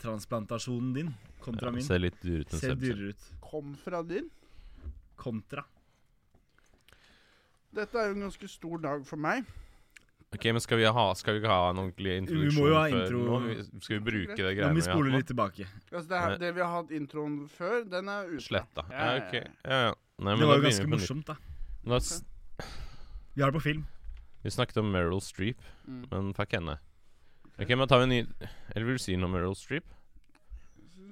hårtransplantasjonen din kontra min Ser litt dyrere ut enn ser Sebs. dyrere ut. Kom fra din. Kontra. Dette er jo en ganske stor dag for meg. Ok, men skal vi, ha, skal vi ikke ha en ordentlig må jo introduksjon ha før intro. nå? Vi- Skal vi bruke det Nå greiene må vi vi har spole nå? litt tilbake. Altså det, Nei. her, det vi har hatt introen før, den er ute. Sletta. Ja, Ja, ja, ok. ja. Ja, ja. Nei, men Det var jo da begynner ganske vi på morsomt, nytt. da. Da s- Vi har det på film. Vi snakket om Meryl Streep, Mm. men fuck henne. Ok, men tar vi en ny Eller vil du si noe om Meryl Streep?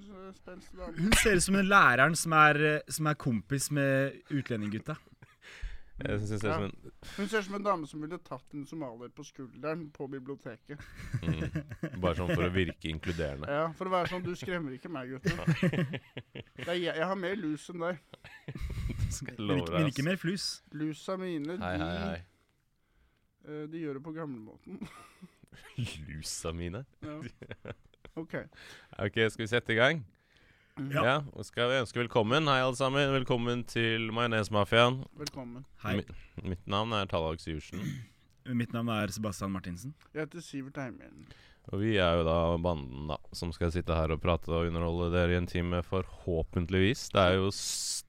Så spennende dame. Hun ser ut som den læreren som er, eh, som er kompis med utlendinggutta. Jeg synes det er som en Hun ser ut som en dame som ville tatt en somalier på skulderen på biblioteket. mm, Bare sånn for å virke inkluderende. Ja, For å være sånn, du skremmer ikke meg, gutten. Det er, jeg, jeg har mer lus enn deg. Skal jeg Men love ikke, deg, men ass. ikke mer flus. Lusa mine, Hei, hei, hei. De, eh, de gjør det på gamlemåten. Lusa mine. Ja. OK. Ok, skal vi sette i gang? Mhm. Ja. Ja. og skal vi ønske velkommen. Hei, alle sammen. Velkommen til Majonesmafiaen. Velkommen. Hei. Mi- Mitt navn er Tallak Syversen. Mitt navn er Sebastian Martinsen. Jeg heter Sivert Eimeren. Og vi er jo da banden da, som skal sitte her og prate og underholde dere i en time, forhåpentligvis. Det er jo s...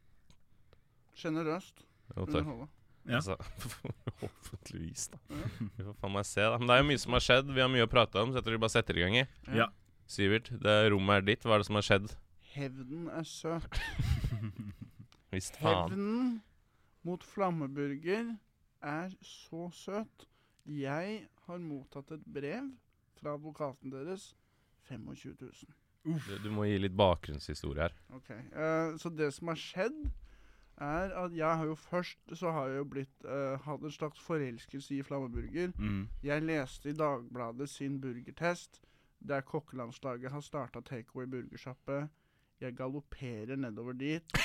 Sjenerøst. Jo, takk. Underholde. Ja. Altså, forhåpentligvis, da. Vi får faen meg se, da. Men det er jo mye som har skjedd. Vi har mye å prate om, så jeg tror vi bare setter i gang i. Ja. Sivert, det rommet er ditt. Hva er det som har skjedd? Hevden er søt. Visst faen. Hevnen mot flammeburger er så søt. Jeg har mottatt et brev fra advokaten deres. 25 000. Du, du må gi litt bakgrunnshistorie her. Ok, eh, Så det som har skjedd, er at jeg har jo først så har jeg jo blitt eh, hatt en slags forelskelse i flammeburger. Mm. Jeg leste i Dagbladet sin burgertest, der kokkelandslaget har starta takeaway burgersjappe. Jeg galopperer nedover dit.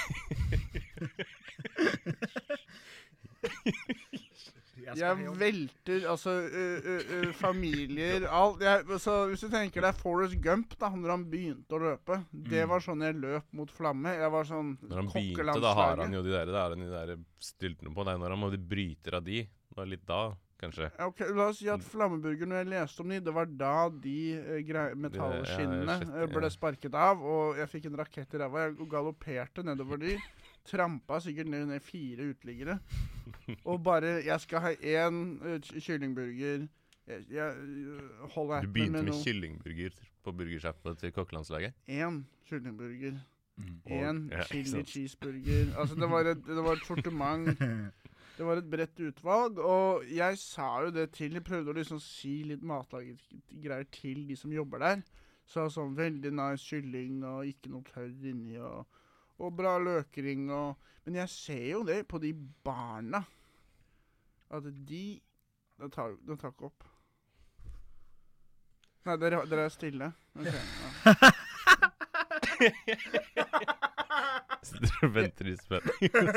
Jeg velter altså ø, ø, ø, familier alt. Jeg, altså, hvis du tenker deg Forrest Gump da når han begynte å løpe Det Mm. var sånn jeg løp mot flamme. Jeg var sånn Når han begynte, da har han jo de der, da har han de der styltene på. Det er når han må de bryter av de. Det var litt da, kanskje. Ok, La oss si at Mm. Flammeburger, når jeg leste om de, det var da de eh, grei- metallskinnene shit, eh, ja. ble sparket av, og jeg fikk en rakett i ræva. Jeg galopperte nedover de. Trampa sikkert ned, ned fire uteliggere. Og bare Jeg skal ha én eh, ky- kyllingburger. Jeg, jeg eh, holder Du appen begynte med noe. kyllingburger på burgersjappa til kokkelandslaget. én kyllingburger, Mm. Og- én ja, ikke chili sant. cheeseburger Altså, det var et, det var et sortiment. Det var et bredt utvalg. Og jeg sa jo det til Jeg prøvde å liksom si litt matlaggreier til de som jobber der. Så sånn veldig nice kylling og ikke noe tørr inni og, og bra løkring og Men jeg ser jo det på de barna at de Det tar, det tar ikke opp. Nei, dere, dere er stille. Ok, ja. Så dere venter i spenning.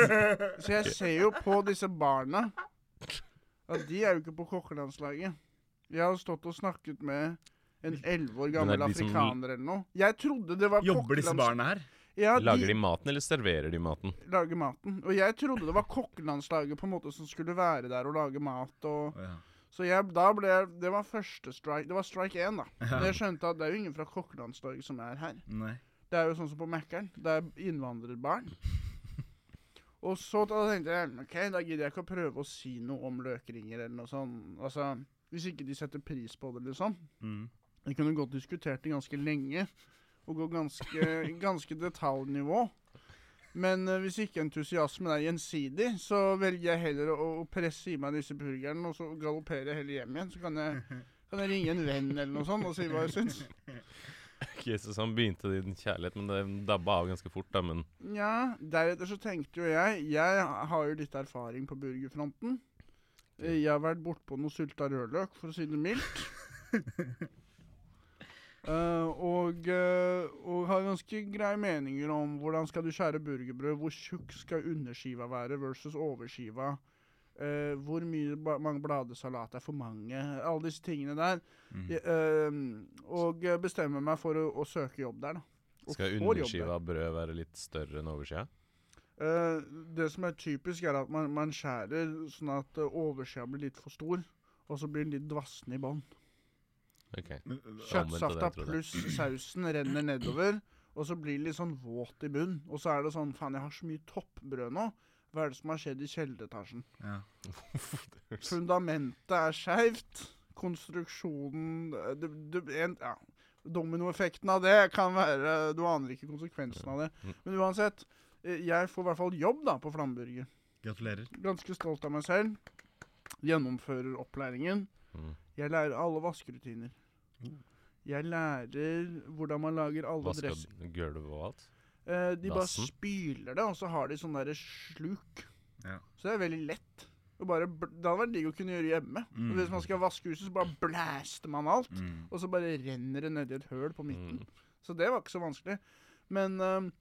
Så jeg ser jo på disse barna at de er jo ikke på kokkelandslaget. Jeg har stått og snakket med en elleve år Men er det gammel de som- afrikaner eller noe. Jeg trodde det var Jobber disse kokkelands- barna her? Ja, de Lager de maten, eller serverer de maten? lager maten. Og jeg trodde det var kokkelandslaget på en måte som skulle være der og lage mat og Å, ja. Så jeg, da ble jeg Det var første strike. Det var strike én, da. Ja. Men jeg skjønte at det er jo ingen fra kokkelandslaget som er her. Nei. Det er jo sånn som på Mækkern. Det er innvandrerbarn. Og så da tenkte jeg ok, da gidder jeg ikke å prøve å si noe om løkringer eller noe sånt. Altså, Hvis ikke de setter pris på det, liksom. Mm. Vi kunne godt diskutert det ganske lenge og gå ganske, ganske detaljnivå. Men eh, hvis ikke entusiasmen er gjensidig, så velger jeg heller å, å presse i meg disse burgerne og så galoppere heller hjem igjen. Så kan jeg, kan jeg ringe en venn eller noe sånt og si hva jeg syns. Jesus, han begynte din kjærlighet, men det dabba av ganske fort. da, men Nja, deretter så tenkte jo jeg Jeg har jo litt erfaring på burgerfronten. Eh, Jeg har vært bortpå noe sylta rødløk, for å si det mildt. Eh, og, eh, og har ganske greie meninger om hvordan skal du skjære burgerbrød, hvor tjukk skal underskiva være versus overskiva, eh, hvor mye ba mange bladesalat er for mange, alle disse tingene der. Mm. Jeg, eh, og eh, bestemmer meg for å, å søke jobb der, da. Og Skal får jobb der. underskiva av brød være litt større enn oversida? Eh, det som er typisk, er at man, man eh, skjærer sånn at uh, oversida blir litt for stor, og så blir den litt dvassen i bånn. Ok. det, Kjøttsafta tror jeg. pluss sausen renner nedover, og så blir det litt sånn våt i bunnen. Og så er det sånn Faen, jeg har så mye toppbrød nå. Hva er det som har skjedd i kjelleretasjen? Ja. Fundamentet er skeivt. Konstruksjonen eh, du, du, en, ja. Dominoeffekten av det kan være Du aner ikke konsekvensen av det. Mm. Men uansett, eh, jeg får i hvert fall jobb da på Flamburger. Gratulerer. Ganske stolt av meg selv. Gjennomfører opplæringen. Mm. Jeg lærer alle vaskerutiner. Mm. Jeg lærer hvordan man lager alle Vaska dress... gulv og alt? Eh, de bare dassen? spyler det, og så har de sånn derre sluk. Ja. Så det er veldig lett. Og bare, bl- det hadde vært digg å kunne gjøre hjemme. Mm. Og hvis man skal vaske huset, så bare blæster man alt. Mm. Og så bare renner det nedi et høl på midten. Mm. Så det var ikke så vanskelig. Men øhm,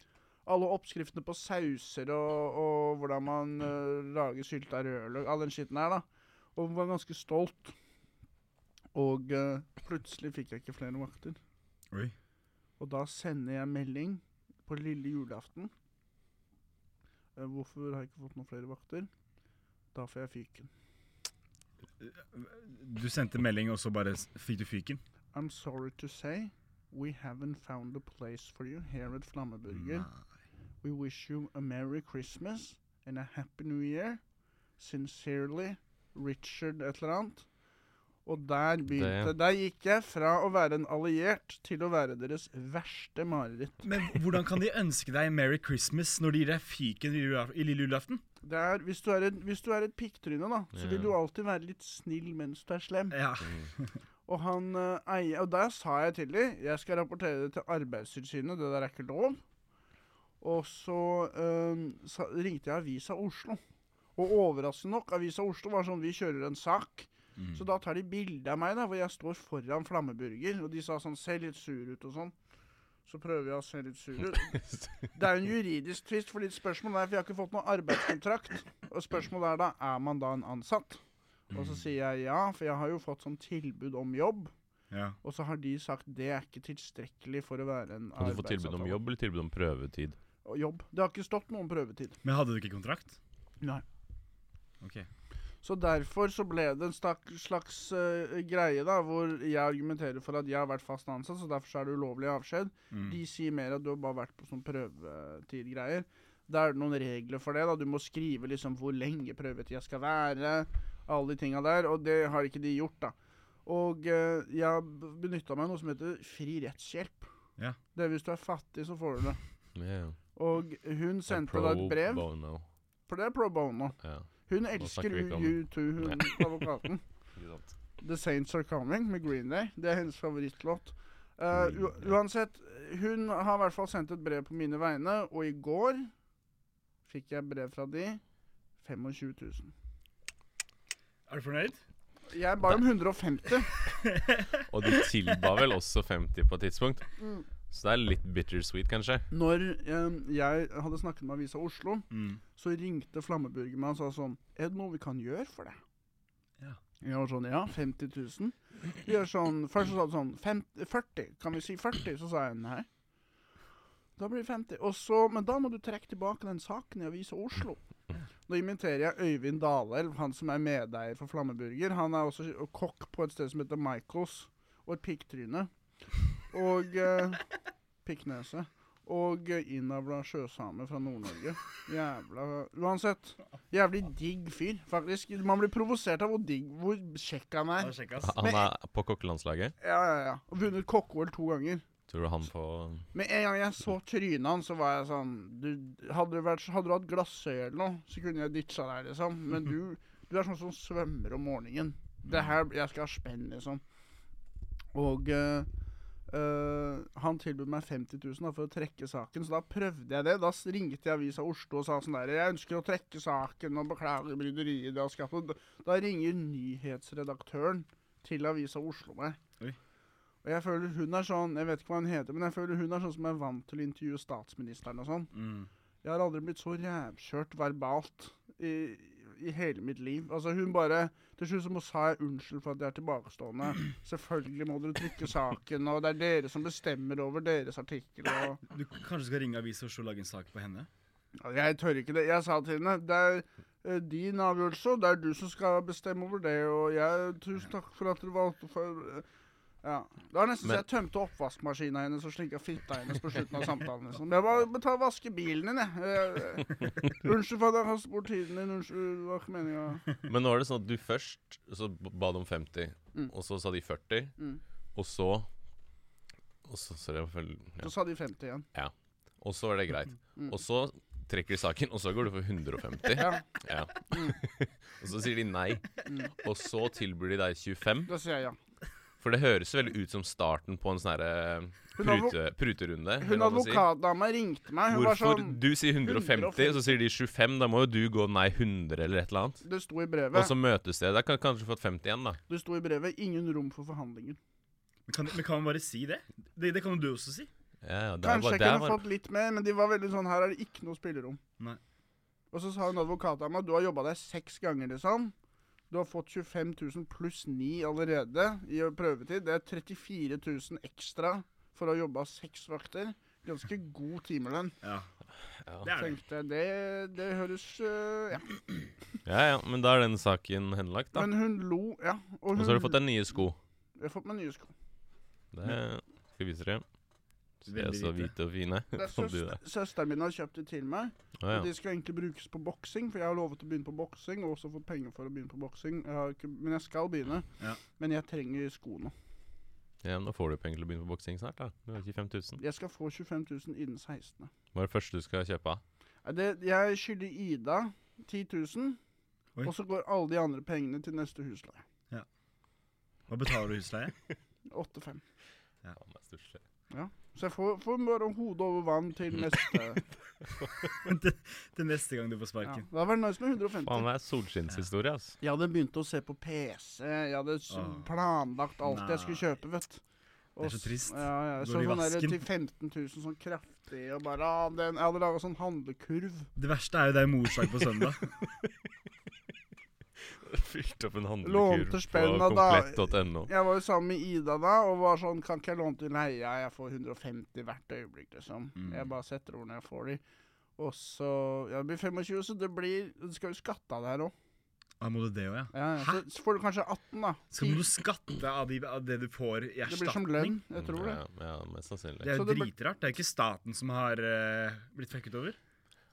alle oppskriftene på sauser og, og hvordan man øh, lager sylta rødløk, all den skitten her, da. Og var ganske stolt. Og øh, plutselig fikk jeg ikke flere vakter. Oi. Og da sender jeg melding på lille julaften. Eh, Hvorfor har jeg ikke fått noen flere vakter? Da får jeg fyken. Du sendte melding, og så bare s- fikk du fyken? I'm sorry to say, we haven't found a place for you here at Flammeburger. We wish you a Merry Christmas and a Happy New Year. Sincerely, Richard et eller annet. Og der begynte Det- Der gikk jeg fra å være en alliert til å være deres verste mareritt. Men hvordan kan de ønske deg Merry Christmas når de gir deg fyken i jula- i lille julaften? Det er, hvis, du er en, hvis du er et pikktryne, da, så vil Ja. du alltid være litt snill mens du er slem. Ja. Og han eh, eier Og der sa jeg til dem jeg skal rapportere det til Arbeidstilsynet, det der er ikke lov. Og så eh, sa, ringte jeg Avisa Oslo. Og overraskende nok, Avisa Oslo var sånn Vi kjører en sak. Mm. Mm. Så da tar de bilde av meg, da, hvor jeg står foran Flammeburger. Og de sa sånn Se litt sur ut og sånn. Så prøver jeg å se litt sur ut. Det er jo en juridisk tvist, fordi spørsmålet er For jeg har ikke fått noen arbeidskontrakt. Og spørsmålet er da Er man da en ansatt? Og så sier jeg ja, for jeg har jo fått sånn tilbud om jobb. ja. Og så har de sagt det er ikke tilstrekkelig for å være en Kan du få tilbud om arbeidsavtale. jobb eller tilbud om prøvetid? Og jobb. Det har ikke stått noen prøvetid. Men hadde du ikke kontrakt? Nei. Ok. Så derfor så ble det en stak- slags eh, greie da, hvor jeg argumenterer for at jeg har vært fast ansatt, så derfor så er det ulovlig avskjed. Mm. De sier mer at du har bare vært på sånn prøvetidgreier. Da er det noen regler for det. da. Du må skrive liksom hvor lenge prøvetida skal være. Alle de tinga der. Og det har ikke de gjort, da. Og eh, jeg benytta meg av noe som heter fri rettshjelp. Ja. Det er hvis du er fattig, så får du det. Yeah. Og hun sendte da et brev. Bono. For det er pro bono. Ja. Hun snakker elsker vi ikke om- U2, hun advokaten. Ikke sant. The Saints Are Coming med Green Day. Det er hennes favorittlåt. Eh, Green u Day. uansett, hun har i hvert fall sendt et brev på mine vegne, og i går fikk jeg brev fra de. 25 000. Er du fornøyd? Jeg ba om 150. Og de tilba vel også 50 på et tidspunkt, Mm. så det er litt bittersweet, kanskje. Når eh, jeg hadde snakket med Avisa Oslo, Mm. så ringte Flammeburger meg og sa sånn Er det noe vi kan gjøre for deg? Ja. Jeg var sånn Ja, 50 000. Vi gjør sånn Først så sa du sånn fem, 40. Kan vi si 40? Så sa jeg nei. Da blir det 50. Og så, men da må du trekke tilbake den saken i Avisa Oslo. Nå inviterer jeg Øyvind Dalelv, han som er medeier for Flammeburger. Han er også kokk på et sted som heter Michaels, og et pikktryne. Og eh, pikknese. Og eh, innavla sjøsame fra Nord-Norge. Jævla Uansett. Jævlig digg fyr, faktisk. Man blir provosert av hvor digg Hvor kjekk han Ja, er. sjekk, ass. Han er på kokkelandslaget. Ja, ja, ja. Og vunnet kokk-OL to ganger. Tror du han får Med en gang jeg så trynet hans, så var jeg sånn du, hadde, du vært, hadde du hatt glassøye eller noe, så kunne jeg ditcha deg, liksom. Men du, du er sånn som svømmer om morgenen. Det her, Jeg skal ha spenn, liksom. Og eh, eh, han tilbød meg 50 000 da, for å trekke saken, så da prøvde jeg det. Da s- ringte jeg Avisa Oslo og sa sånn der Jeg ønsker å trekke saken og beklager bryderiet det har skapt. Og Da, da ringer nyhetsredaktøren til Avisa Oslo meg. Og jeg føler hun er sånn, jeg vet ikke hva hun heter, men jeg føler hun er sånn som er vant til å intervjue statsministeren og sånn. Mm. Jeg har aldri blitt så rævkjørt verbalt i, i hele mitt liv. Altså hun bare, til slutt så må sa jeg unnskyld for at jeg er tilbakestående. Selvfølgelig må dere trykke saken, og det er dere som bestemmer over deres artikkel. Og Du kanskje skal ringe avisa og så lage en sak på henne? Ja, Altså, Jeg tør ikke det. Jeg sa til henne det er eh, din avgjørelse, og det er du som skal bestemme over det. Og jeg, tusen takk for at dere valgte for Ja. Det var nesten så Men- jeg tømte oppvaskmaskina hennes og slinka fitta hennes på slutten av samtalen. Liksom. Jeg bare må ta og vaske bilen din, jeg. Eh, Unnskyld for at jeg kastet bort tiden din. Unnskyld, det var ikke meninga. Men nå er det sånn at du først så b- ba de om 50, Mm. og så sa de 40, Mm. og så Og så Sorry, jeg føl- ja. Så sa de 50 igjen. Og så var det greit. Mm. Og så trekker de saken, og så går du for 150. Ja. Ja. og så sier de nei, Mm. og så tilbyr de deg 25. Da sier jeg ja. For det høres veldig ut som starten på en sånn herre Hun advo- prute, pruterunde. eller Hun hva man sier. advokatdama ringte meg. Hvorfor Hun var sånn du sier 150, og så sier de 25? Da må jo du gå nei 100 eller et eller annet. Det sto i Og brevet. så møtes det. Da kan kanskje fått 50 igjen, da. Det sto i brevet 'ingen rom for forhandlinger'. Men kan, men kan man bare si det? det? Det kan jo du også si. Ja, ja, det er Kanskje bare, jeg det er kunne bare, fått litt mer, men de var veldig sånn 'her er det ikke noe spillerom'. Nei. Og så sa hun advokatdama 'du har jobba deg seks ganger', liksom. Du har fått 25 000 pluss 9 allerede i prøvetid. Det er 34 000 ekstra for å ha jobba seks vakter. Ganske god timelønn. Ja, det ja. er det. Tenkte jeg, det, det høres øh, ja. ja, ja, men da er den saken henlagt, da. Men hun lo, ja. Og så har du fått deg nye sko. Jeg har fått meg nye sko. Det skal vi vise dere. Så de er Veldig så hvite. hvite og fine. Det er Som du søster, er. søsteren min har kjøpt de til meg. Å, Og ja. de skal egentlig brukes på boksing, for jeg har lovet å begynne på boksing. Og også fått penger for å begynne på boksing. Jeg har ikke- Men jeg skal begynne. Ja. Men jeg trenger sko nå. ja, men da får du penger til å begynne på boksing snart, da. Du har 25 000. Jeg skal få 25 000 innen 16. Hva er det første du skal kjøpe? av? Er Det, jeg skylder Ida 10 000. Oi. Og så går alle de andre pengene til neste husleie. Hva betaler du husleie? 8-5. Ja, men det er stusslig. Så jeg får, får bare hodet over vann til neste. til, til neste gang du får Ja. sparken. Det hadde vært nice med 150. Faen, det er solskinnshistorie, altså. Jeg hadde begynt å se på PC. Jeg hadde s- Åh. planlagt alt jeg skulle Ah. Nei. kjøpe, vet du. er Og så s- trist. Ja, Går ja. Jeg det så i sånn der vasken? til 15 000 sånn kraftig og bare ah, den, Jeg hadde laga sånn handlekurv. Det verste er jo det er morsdag på søndag. Fylt opp en Lånte handlekurv på spenn av da- komplett.no. Jeg var jo sammen med Ida da og var sånn Kan ikke jeg låne til leia? Jeg får 150 hvert øyeblikk, liksom. Mm. Jeg bare setter over når jeg får de. Og så Jeg blir 25, så det blir Det skal jo skatte av det her òg. Ah, må du det òg, ja? Ja, ja. Så- Så får du kanskje 18, da. Så må du skatte av, de, av det du får i Det blir som erstatning? lønn. Jeg tror det. Ja, Mm, ja, mest sannsynlig. Det er jo Så det blir- dritrart. Det er jo ikke staten som har eh, blitt fucket over.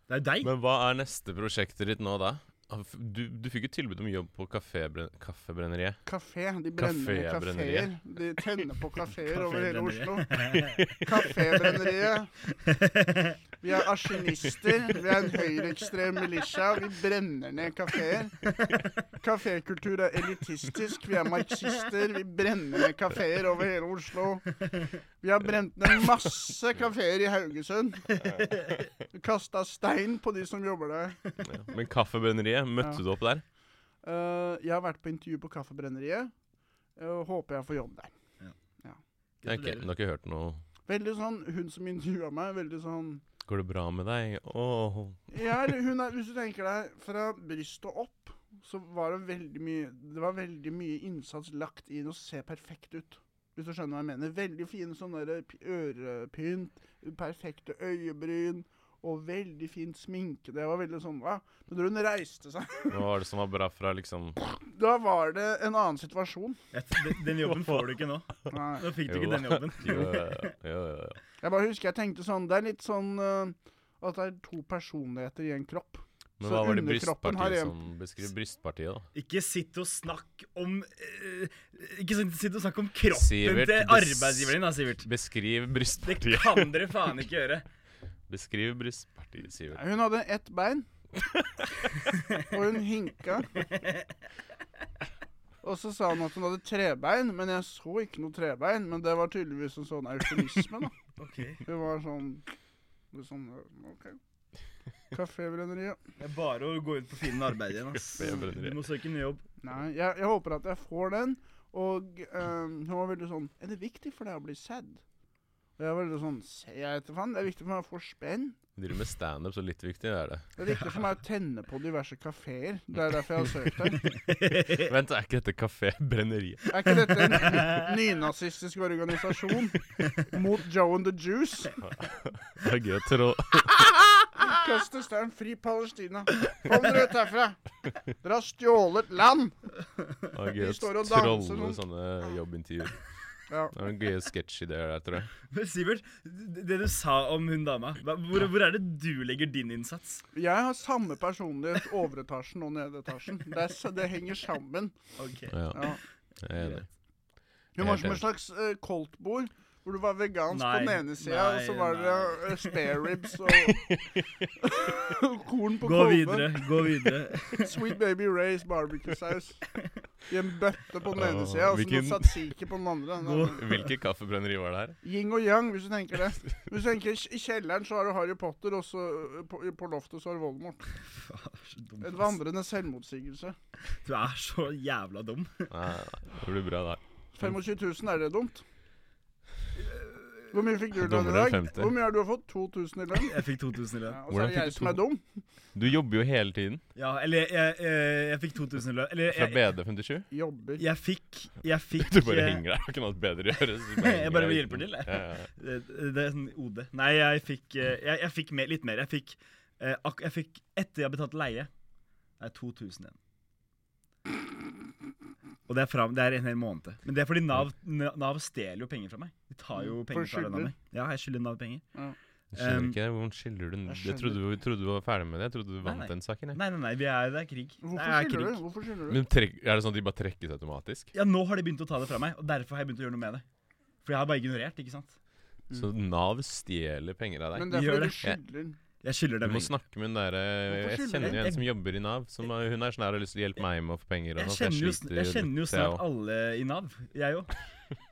Det er jo deg. Men hva er neste prosjektet ditt nå, da? Du, du fikk jo tilbud om jobb på kafébren kaffebrenneriet. Kafé. De brenner ned kafeer. Kafébrenneriet. De tenner på kafeer over hele Oslo. Kafébrenneriet. Kafébrenneriet. Vi er arsjonister. Vi er en høyreekstrem militia. Vi brenner ned kafeer. Kafékultur er elitistisk. Vi er marxister. Vi brenner ned kafeer over hele Oslo. Vi har brent ned masse kafeer i Haugesund. Kasta stein på de som jobber der. Ja. Men kaffebrenneriet, møtte Ja. du opp der? Eh, jeg har vært på intervju på Kaffebrenneriet. og håper jeg får jobb der. Ja, ok, Gratulerer. du har ikke hørt noe Veldig sånn, Hun som intervjua meg, veldig sånn Går det bra med deg? Åh Ja, eller hun er, hvis du tenker deg fra brystet og opp, så var det veldig mye Det var veldig mye innsats lagt inn å se perfekt ut. Hvis du skjønner hva jeg mener. Veldig fine sånne der p- ørepynt, perfekte øyebryn og veldig fint sminke. Det var veldig sånn, hva? Men da hun reiste seg Hva var det som var bra fra liksom Da var det en annen situasjon. Jeg t- den- Den jobben får du ikke nå. Nei. Nå fikk du Jo ikke den da. jobben. Jo, jo, jo, jo, jo. Jeg bare husker jeg tenkte sånn Det er litt sånn eh, at det er to personligheter i en kropp. Men Så hva var det underkroppen har brystpartiet en- som beskriver brystpartiet, da? Ikke sitt og snakk om eh, Ikke sånn- sitt og snakk om kroppen Sivert, til det s- arbeidsgiveren din, da, Sivert. Beskriv Det brystpartiet. kan dere faen ikke gjøre. Beskriv brystpartiet, Sivert. Hun hadde ett bein, og hun hinka. Og så sa hun at hun hadde trebein, men jeg så ikke noe trebein. Men det var tydeligvis en sånn eufemisme, da. Hun var sånn litt sånn OK. Kafébrenneriet. Det er bare å gå ut på Finn arbeid igjen, ass. Kafébrenneri. Du må søke ny jobb. Nei, jeg, jeg håper at jeg får den. Og eh, hun var veldig sånn Er det viktig for deg å bli sedd? Og jeg var veldig sånn Se, jeg vet da faen. Det er viktig for meg å få spenn. Driver med standup, så litt viktig er det. Det er viktig for meg å tenne på diverse kafeer. Det er derfor jeg har søkt her. Vent, er ikke dette kafébrenneriet? Er ikke dette en nynazistisk organisasjon mot Joe and the Juice? Det er gøy å trå Kaster stein, fri Palestina. Kom dere ut herfra! Dere har stjålet land! det er gøy De å står og danser trolle sånn. sånne jobbintervjuer. Ja. Det er noen gøye sketsjideer der, tror jeg. Men Sivert, d- det du sa om hun dama, hva- hvor, hvor er det du legger din innsats? Jeg har samme personlighet overetasjen og nedetasjen. Det, er, s- det henger sammen. Ok. Ja, Ja. jeg er enig. Hun var Helt som enig. et slags eh, koldtbord, hvor du var vegansk på den Nei, ene sida, og så nei, var det nei. eh, spare ribs og korn på Gå kolben. videre, gå videre. Sweet Baby Rays barbecue-saus i en bøtte på den ene Åh, sida og så noe hvilken- satsiki på den andre. Den Gå. er- Hvilke kaffebrenneri var det her? Yin og yang, hvis du tenker det. Hvis du tenker I kjelleren så har du Harry Potter, og så eh, på, på loftet så har du Voldemort. Faen, så dum, Et ass. vandrende selvmotsigelse. Du er så jævla dum. Nei, nei, det blir bra der. 25 000, er det dumt? Hvor mye fikk du i lønn i Dummere enn dag? 50. Hvor mye har du fått? 2000 i lønn? Jeg fikk 2000 i lønn. Ja, og så Hvordan er det fikk jeg du som er to? dum. Du jobber jo hele tiden Ja, eller jeg, jeg, jeg fikk 2000 i lønn. Eller fra jeg, BD57. Jobber. jeg fikk Jeg fikk Du bare eh, henger der. Har ikke noe annet bedre å gjøre. så Jeg du bare henger der hjelper uten- til, jeg. Ja, ja. Det, det er sånn OD. Nei, jeg fikk, eh, jeg, jeg fikk mer, litt mer. Jeg fikk, eh, ak jeg fikk Etter jeg har betalt leie, det er 2000 igjen. Og det er, fra, det er en hel måned. Men det er fordi Nav, Nav stjeler jo penger fra meg. De tar jo Mm, for penger fra skylder. lønna mi. Ja, jeg skylder Nav penger. Jeg skjønner Um, ikke det. Hvordan skylder du den? jeg Jeg trodde, vi trodde du var ferdig med det. Jeg trodde du vant nei. den saken. Jeg. Nei, nei, nei, vi er, det er krig. det Hvorfor er skylder krig. du? Hvorfor skylder du? Men trekk, Er det sånn at de bare trekkes automatisk? Ja, nå har de begynt å ta det fra meg, og derfor har jeg begynt å gjøre noe med det. For jeg har bare ignorert, ikke sant. Så Nav stjeler penger av Men deg? det er gjør Mm. det. fordi du skylder. Jeg skylder Du dem må penger. snakke med hun derre Hvorfor Jeg skylder kjenner jeg? en som jobber i Nav. Som er, hun er sånn her har lyst til å hjelpe meg med å få penger. Og Jeg sånt, kjenner, jo, sliter sn- jeg kjenner jo litt, jeg snart også. alle i Nav, jeg òg.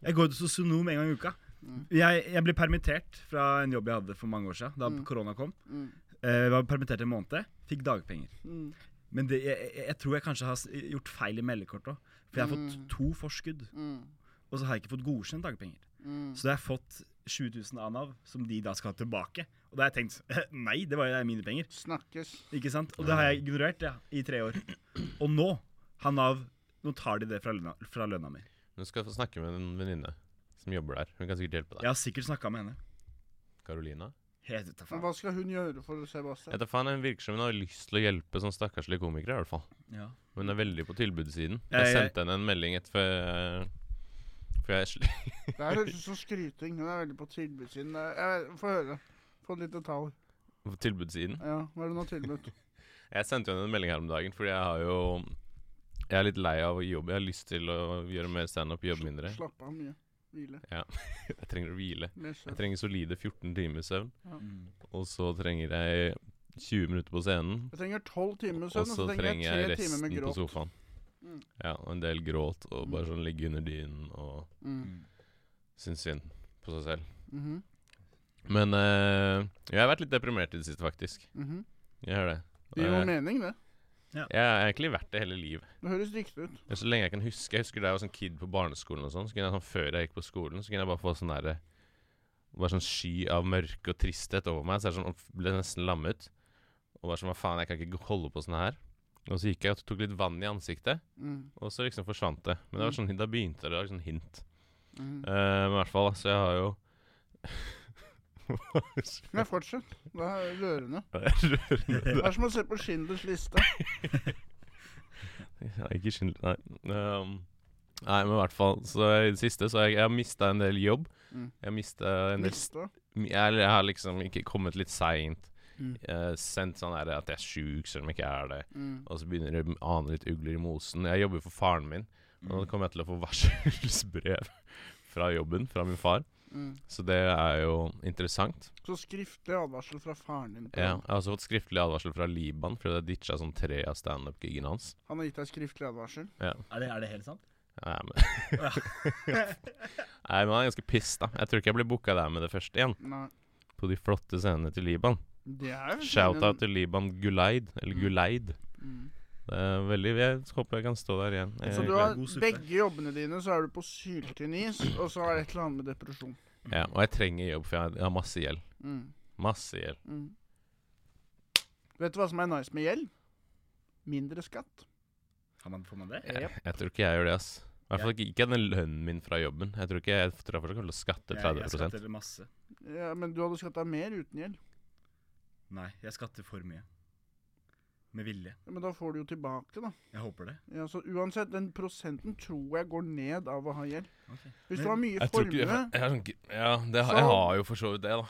Jeg går til sosionom en gang i uka. Mm. Jeg, jeg ble permittert fra en jobb jeg hadde for mange år siden, da Mm. korona kom. Mm. Eh, Jeg var permittert en måned, fikk dagpenger. Mm. Men det, jeg, jeg, jeg tror jeg kanskje har s- gjort feil i meldekortet òg. For jeg har fått Mm. to forskudd, Mm. og så har jeg ikke fått godkjent dagpenger. Mm. Så da har jeg fått 7000 av Nav, som de da skal ha tilbake. Og da har jeg tenkt nei, det var jo mine penger. Snakkes. Ikke sant? Og det har jeg ignorert ja, i tre år. Og nå har Nav Nå tar de det fra lønna, fra lønna mi. Du skal få snakke med en venninne som jobber der. Hun kan sikkert hjelpe Jeg deg. har sikkert snakka med henne. Carolina. Helt ut av Men faen. hva skal hun gjøre for Sebastian? Etter faen, Hun virker som hun har lyst til å hjelpe sånn stakkarslige komikere. i hvert fall Ja. Hun er veldig på tilbudssiden. Ja, Jeg jeg- sendte henne en melding etter før- For jeg sl- Det her høres ut som skryting. Hun er veldig på tilbudssiden. Eh, Jeg vet- Få høre. Få et lite tall. på tilbudssiden. Ja, hva er det hun har tilbudt? Jeg sendte henne en melding her om dagen, fordi jeg har jo Jeg er litt lei av å jobbe. Jeg har lyst til å gjøre mer standup, jobbe mindre. Slappe av mye. Hvile. Jeg trenger å hvile. Mer Jeg søvn. trenger solide 14 timer søvn. Mm. Og så trenger jeg 20 minutter på scenen. Jeg trenger tolv timer søvn, Og og så så trenger jeg tre jeg timer resten med på gråt. sofaen. Mm. Ja, og en del gråt, og bare sånn ligge under dynen og Mm. synes synd på seg selv. Mhm. Men eh, jeg har vært litt deprimert i det siste, faktisk. Mhm. Jeg har det. Det gir jo jeg, mening, det. jeg har egentlig vært det hele livet. Det høres riktig ut. Men Så lenge jeg kan huske Jeg husker da jeg var sånn kid på barneskolen og sånn, så kunne jeg sånn før jeg gikk på skolen, så kunne jeg bare få sånn derre Bare sånn sky av mørke og tristhet over meg, så jeg sånn, ble nesten lammet. Og bare sånn Hva faen, jeg kan ikke holde på sånn her. Og så gikk jeg og tok litt vann i ansiktet, Mm. og så liksom forsvant det. Men det var sånn, da begynte det, det var sånn hint. Mhm. Eh, men i hvert fall, da, så jeg har jo Nei, fortsett. Det er rørende. Rørende. Det er som å se på Schindlers liste. Ja, ikke skyld Nei. Ehm, nei, men i hvert fall Så i det siste så har jeg, jeg har mista en del jobb. Mm. Jeg har mista en del Liste. jeg, jeg har liksom ikke kommet litt seint. Mm. Eh, sendt sånn her at jeg er sjuk, selv om jeg ikke er det. Mm. Og så begynner det å ane litt ugler i mosen. Jeg jobber for faren min, og Mm. nå kommer jeg til å få varselsbrev fra jobben fra min far. Mm. Så det er jo interessant. Så skriftlig advarsel fra faren din. på Ja, den. jeg har også fått skriftlig advarsel fra Liban fordi jeg ditcha sånn tre av standup-gigene hans. Han har gitt deg skriftlig advarsel. Er, det, er det helt sant? Nei, men Nei, men han er ganske piss, da. Jeg tror ikke jeg blir booka der med det første igjen. Nei. På de flotte scenene til Liban. Det er Shout-out til Liban Guleid. Eller Mm. Guleid. Mm. Det er veldig Jeg håper jeg kan stå der igjen. Så Eh, du har God suppe. begge jobbene dine, så er du på syltynn is, og så er det et eller annet med depresjon. ja, og jeg trenger jobb, for jeg har- jeg har masse gjeld. Mm. Masse gjeld. Mm. Vet du hva som er nice med gjeld? Mindre skatt. Har man, får man det? Jeg, jeg tror ikke jeg gjør det, ass. I hvert fall ikke, ikke den lønnen min fra jobben. Jeg tror ikke jeg, jeg tror jeg fortsatt kommer til å skatte Jeg- 30 Jeg skatter masse. Ja, men du hadde skatta mer uten gjeld. Nei, jeg skatter for mye. Med vilje. Ja, men da får du jo tilbake, da. Jeg håper det. Ja, så uansett, den prosenten tror jeg går ned av å ha gjeld. Ok. Hvis Men- du har mye Jeg tror ikke jeg, formue jeg, har sånn g- Ja, det, har- Så- jeg har jo for så vidt det, da.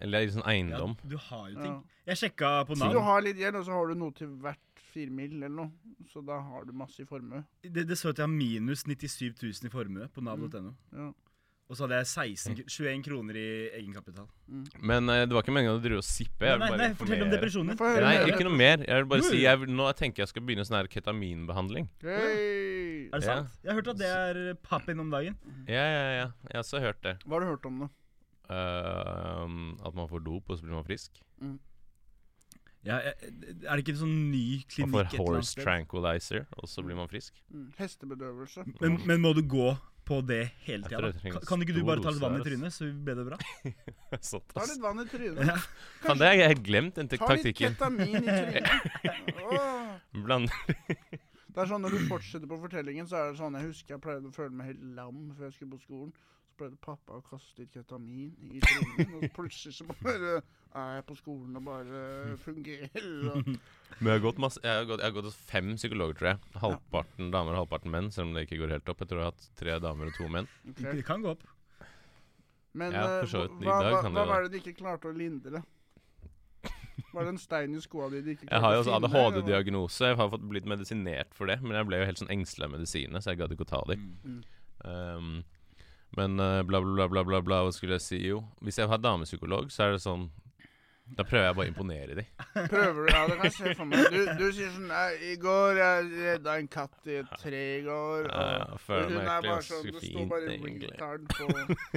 Eller liksom Ja, eiendom. du har jo ting. ja. Jeg sjekka på Si du Nav. har litt gjeld, og så har du noe til hvert fire mil eller noe. Så da har du masse i formue. Det, det står at jeg har minus 97 000 i formue på nav.no. Mm. Ja. Og så hadde jeg 16, kr- 21 kroner i egenkapital. Men eh, det var ikke meningen å drive og sippe. Jeg Nei, nei, vil bare nei fortell om informere. depresjonen. Få høre Nei, mer. ikke noe mer. Jeg vil bare Jo, si jo. jeg, vil- Nå jeg tenker jeg skal begynne sånn her ketaminbehandling. Hei! Er det Ja. sant? Jeg har hørt at det er pappen om dagen. Ja, ja, ja. Jeg har også hørt det. Hva har du hørt om det? Ehm, at man får dop, og så blir man frisk. Ja, jeg- er det ikke en sånn ny klinikk? Man får et eller annet horse sted? tranquilizer, og så blir man frisk. Mm. Hestebedøvelse. Men, men må du gå på det hele Jeg tida? tror da? jeg Kan, trenger kan ikke du stor bare ta dose litt vann der, i trynet, så ble det bra? Sånt, Ta ass. litt vann i trynet. Ja. Faen, det har jeg helt glemt, den Ta litt taktikken. ketamin i trynet. Åh. Bland Det er sånn Når du fortsetter på fortellingen, så er det sånn Jeg husker jeg pleide å føle meg helt lam før jeg skulle på skolen. Så pleide pappa å kaste litt ketamin i trynet, og plutselig så bare er jeg på skolen og bare fungerer. Og Men jeg har gått masse Jeg har gått, jeg har gått hos fem psykologer, tror jeg. Halvparten damer og halvparten menn, selv om det ikke går helt opp. Jeg tror jeg har hatt tre damer og to menn. Ok. Det kan gå opp. Men Ja, eh, for så vidt. I hva, dag hva, kan det hva være. var det de ikke klarte å lindre? Var det en stein i skoa di de ikke Jeg har jo klarte også å finne? eller hva? ADHD-diagnose. Jeg har fått blitt medisinert for det, men jeg ble jo helt sånn engstelig av medisinene, så jeg gadd ikke å ta de. Mm. Um, men eh, bla, bla, bla, bla, bla, bla, hva skulle jeg si? Jo, hvis jeg har damepsykolog, så er det sånn Da prøver jeg bare å imponere de. Prøver du? Ja, det kan jeg se for meg. Du, du sier sånn «Nei, I går jeg redda en katt i et tre i går. Ja, Og jeg føler hun meg er egentlig bare sånn ganske Det står fint, bare egentlig. 'retard' på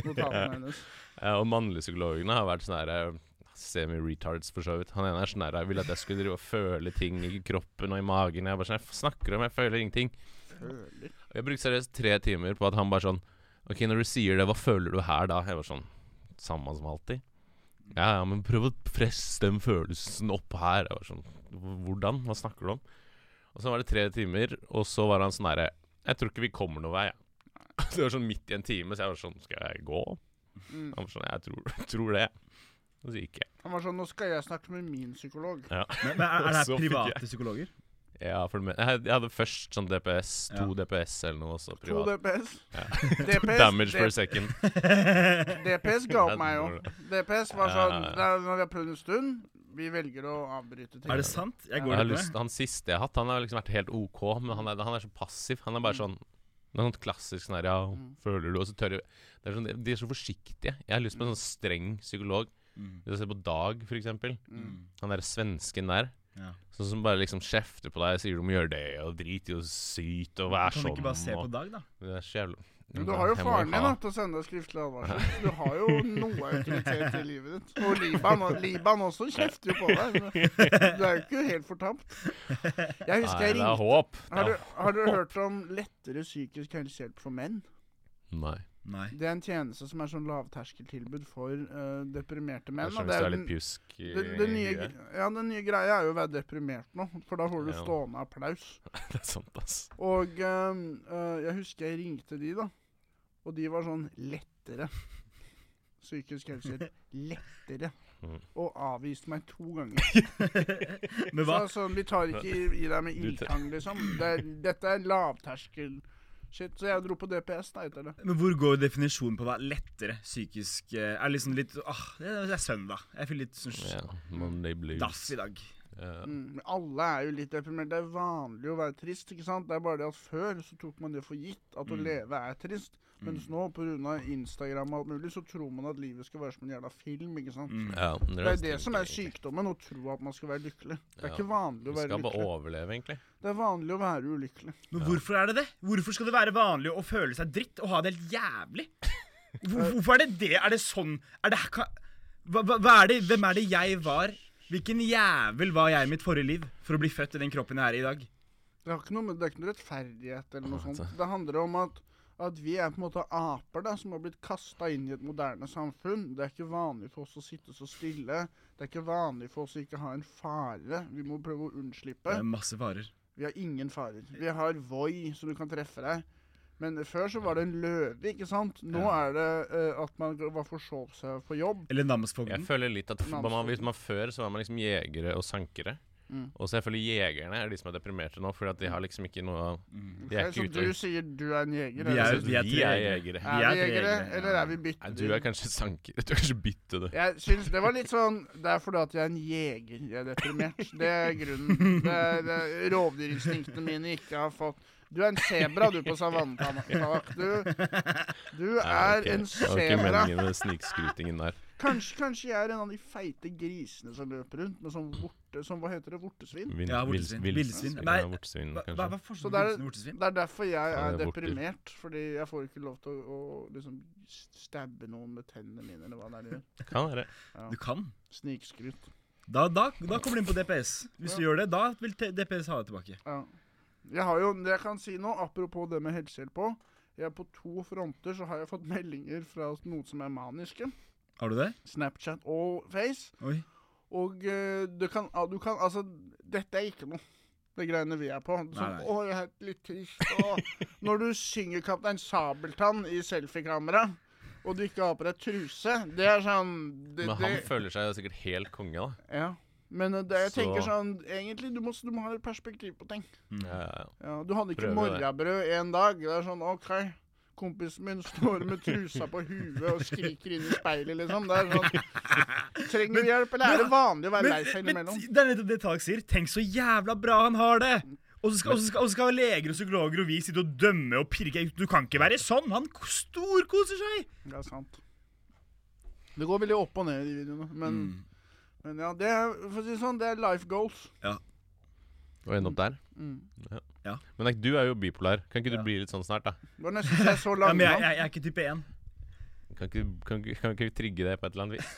notatene hennes. Eh, Og mannlige psykologene har vært sånn her eh, Semi-retards, for så vidt. Han ene er sånn her Jeg ville at jeg skulle drive og føle ting i kroppen og i magen. Jeg bare sånn Jeg snakker om, jeg føler ingenting. Føler Og Jeg brukte seriøst tre timer på at han bare sånn Ok, når du sier det, hva føler du her da? Jeg var sånn Samme som alltid. Ja, ja, men prøv å presse den følelsen opp her. Jeg var sånn Hvordan? Hva snakker du om? Og så var det tre timer, og så var han sånn herre Jeg tror ikke vi kommer noen vei. jeg». Så det var sånn midt i en time, så jeg var sånn Skal jeg gå? Mm. Han var sånn Jeg tror, tror det. Og så gikk jeg. Han var sånn 'Nå skal jeg snakke med min psykolog'. Men, men er, er det Så her fikk private psykologer? Ja, for det men- jeg had- jeg hadde først sånn DPS, to Ja. DPS eller noe også, To privat. DPS. Ja. DPS, Damage D- per second. DPS ga opp meg òg. Ja, DPS var sånn Ja. «Nei, 'Nå har vi prøvd en stund. Vi velger å avbryte ting'. Er det sant? Jeg Jeg går har litt lyst, med. han siste jeg har hatt, han har liksom vært helt OK, men han er, han er så passiv. Han er Mm. bare sånn det er sånn klassisk sånn her, ja, Mm. føler du, og så tør jeg det er sånn, De er så forsiktige. Jeg har lyst på en sånn streng psykolog. Mm. Hvis jeg ser på Dag, for eksempel. Mm. Han derre svensken der. Ja. Sånn som bare liksom kjefter på deg og sier du må gjøre det, og drit i å syte, og vær Kan sånn du ikke bare se på og, Dag, da? Det er så jævlig Men du har jo Jeg må faren din ha- da, til å sende deg skriftlig advarsel. Du har jo noe autoritet i livet ditt. Og Liban, og- Liban også kjefter jo på deg. men Du er jo ikke helt fortapt. Jeg husker Nei, jeg det er ringte håp. Det har, er, du, har dere hørt om lettere psykisk helsehjelp for menn? nei. Nei. Det er en tjeneste som er sånn lavterskeltilbud for eh, deprimerte menn. Kanskje og hvis det du er er den- litt pjusk i det, det nye, huet. ja, den nye greia er jo å være deprimert nå, for da får du Ja. stående applaus. Det er sant, ass. Og ehm, eh, jeg husker jeg ringte de, da. Og de var sånn lettere. Psykisk helsehjelp. Lettere. Mm. Og avviste meg to ganger. Men Så hva? sånn, vi tar ikke i, i deg med Du te- ildtang, liksom. Det er, dette er lavterskel. Shit, så jeg dro på DPS da etter det. Men hvor går definisjonen på hva er lettere psykisk eh, Er liksom litt Åh, det er det er søndag. Jeg føler litt sånn Ja, Monday blues. dass i dag. Ja. Mm. Men alle er jo litt deprimert. Det er vanlig å være trist, ikke sant? Det er bare det at før så tok man det for gitt at å Mm. leve er trist. Mens nå, pga. Instagram og alt mulig, så tror man at livet skal være som en jævla film, ikke sant. Mm. Ja, Det er det som er egentlig. sykdommen, å tro at man skal være lykkelig. Det er Ja. ikke vanlig å Du være skal bare lykkelig. overleve, egentlig. Det er vanlig å være ulykkelig. Men hvorfor er det det? Hvorfor skal det være vanlig å føle seg dritt og ha det helt jævlig? Hvor, hvorfor er det det? Er det sånn Er det hva, hva, hva er det, Hvem er det jeg var? Hvilken jævel var jeg i mitt forrige liv for å bli født i den kroppen jeg er i i dag? Det, har ikke noe, med- det er ikke noe rettferdighet eller noe Nei, sånt. det- Det handler om at, at vi er på en måte aper da, som har blitt kasta inn i et moderne samfunn. Det er ikke vanlig for oss å sitte så stille. Det er ikke vanlig for oss å ikke ha en fare. Vi må prøve å Det unnslippe. er masse farer. Vi har ingen farer. Vi har Voi, så du kan treffe deg. Men før så var det en løve, ikke sant? Nå er det eh, at man var forsov seg på jobb. Eller Jeg Mm. namsfogden. føler litt at f- Namsfogden. man, hvis man før så var man liksom jegere og sankere. Mm. Og selvfølgelig jegerne er de som er deprimerte nå, fordi at de har liksom ikke noe Mm. De er ikke Ok, så ute Eh, du og sier du er en jeger? Vi eller? er- vi er Vi tre er jegere. jegere. vi Er er vi jegere, jegere, ja. eller er vi Nei, bytter? du er kanskje sanker. Du er kanskje bytte, du. Jeg syns det var litt sånn Det er fordi at jeg er en jeger jeg er deprimert. Det er grunnen. Det er, det er Rovdyrinstinktene mine ikke har fått Du er en sebra, du, på savannen, Tamak. Du, du Nei, er ok. en Det var ikke sebra. meningen med snikskrytingen der. Kanskje, kanskje jeg er en av de feite grisene som løper rundt med sånn vorte... Sånn, hva heter det? Vortesvin? Vin, Ja, vils- villsvin. vils- Villsvin. ja, Nei, Hva, vortesvin, hva kanskje. hva er Så forskjellen det på er- villsvin og vortesvin? Det er derfor jeg Mm. Ja, er det er vorter. deprimert. Fordi jeg får ikke lov til å, å liksom stabbe noen med tennene mine, eller hva det er de gjør. Kan være. Du kan. Snikskryt. Da, da, da kommer du inn på DPS. Hvis du Ja. gjør det, da vil te- DPS ha det tilbake. Ja. Jeg har jo, det jeg kan si nå, apropos det med helsehjelp òg jeg er På to fronter så har jeg fått meldinger fra noen som er maniske. Har du det? Snapchat og Face. Oi. Og eh, du, kan, ah, du kan Altså, dette er ikke noe. Det greiene vi er på. Sånn, Nei, nei. 'Å, jeg er litt trist', og Når du synger 'Kaptein Sabeltann' i selfiekamera, og du ikke har på deg truse, det er sånn det, Men han det, føler seg jo sikkert helt konge, da. Ja. Men eh, det, jeg Så- tenker sånn Egentlig, du må, du må ha et perspektiv på ting. Ja, ja, ja. Ja, du hadde ikke Prøve det. morrabrød en dag. Det er sånn OK. Kompisen min står med trusa på huet og skriker inn i speilet, liksom. Det er sånn Trenger du hjelp, eller er det vanlig å være lei seg innimellom? det er nettopp det Tallak sier. Tenk så jævla bra han har det! Og så skal, og så skal, og så skal leger og psykologer og vi sitte og dømme og pirke. Du kan ikke være sånn! Han k- storkoser seg! Det er sant. Det går veldig opp og ned i de videoene, men, Mm. men ja, det er, for å si det sånn, det er life goals. Og ende opp der. Mm. Ja. Ja. Men like, du er jo bipolar. Kan ikke Ja. du bli litt sånn snart, da? Det var nesten så jeg så Ja, men jeg, Langemann. jeg, jeg er ikke type 1. Kan ikke, kan, ikke- kan ikke vi trigge det på et eller annet vis?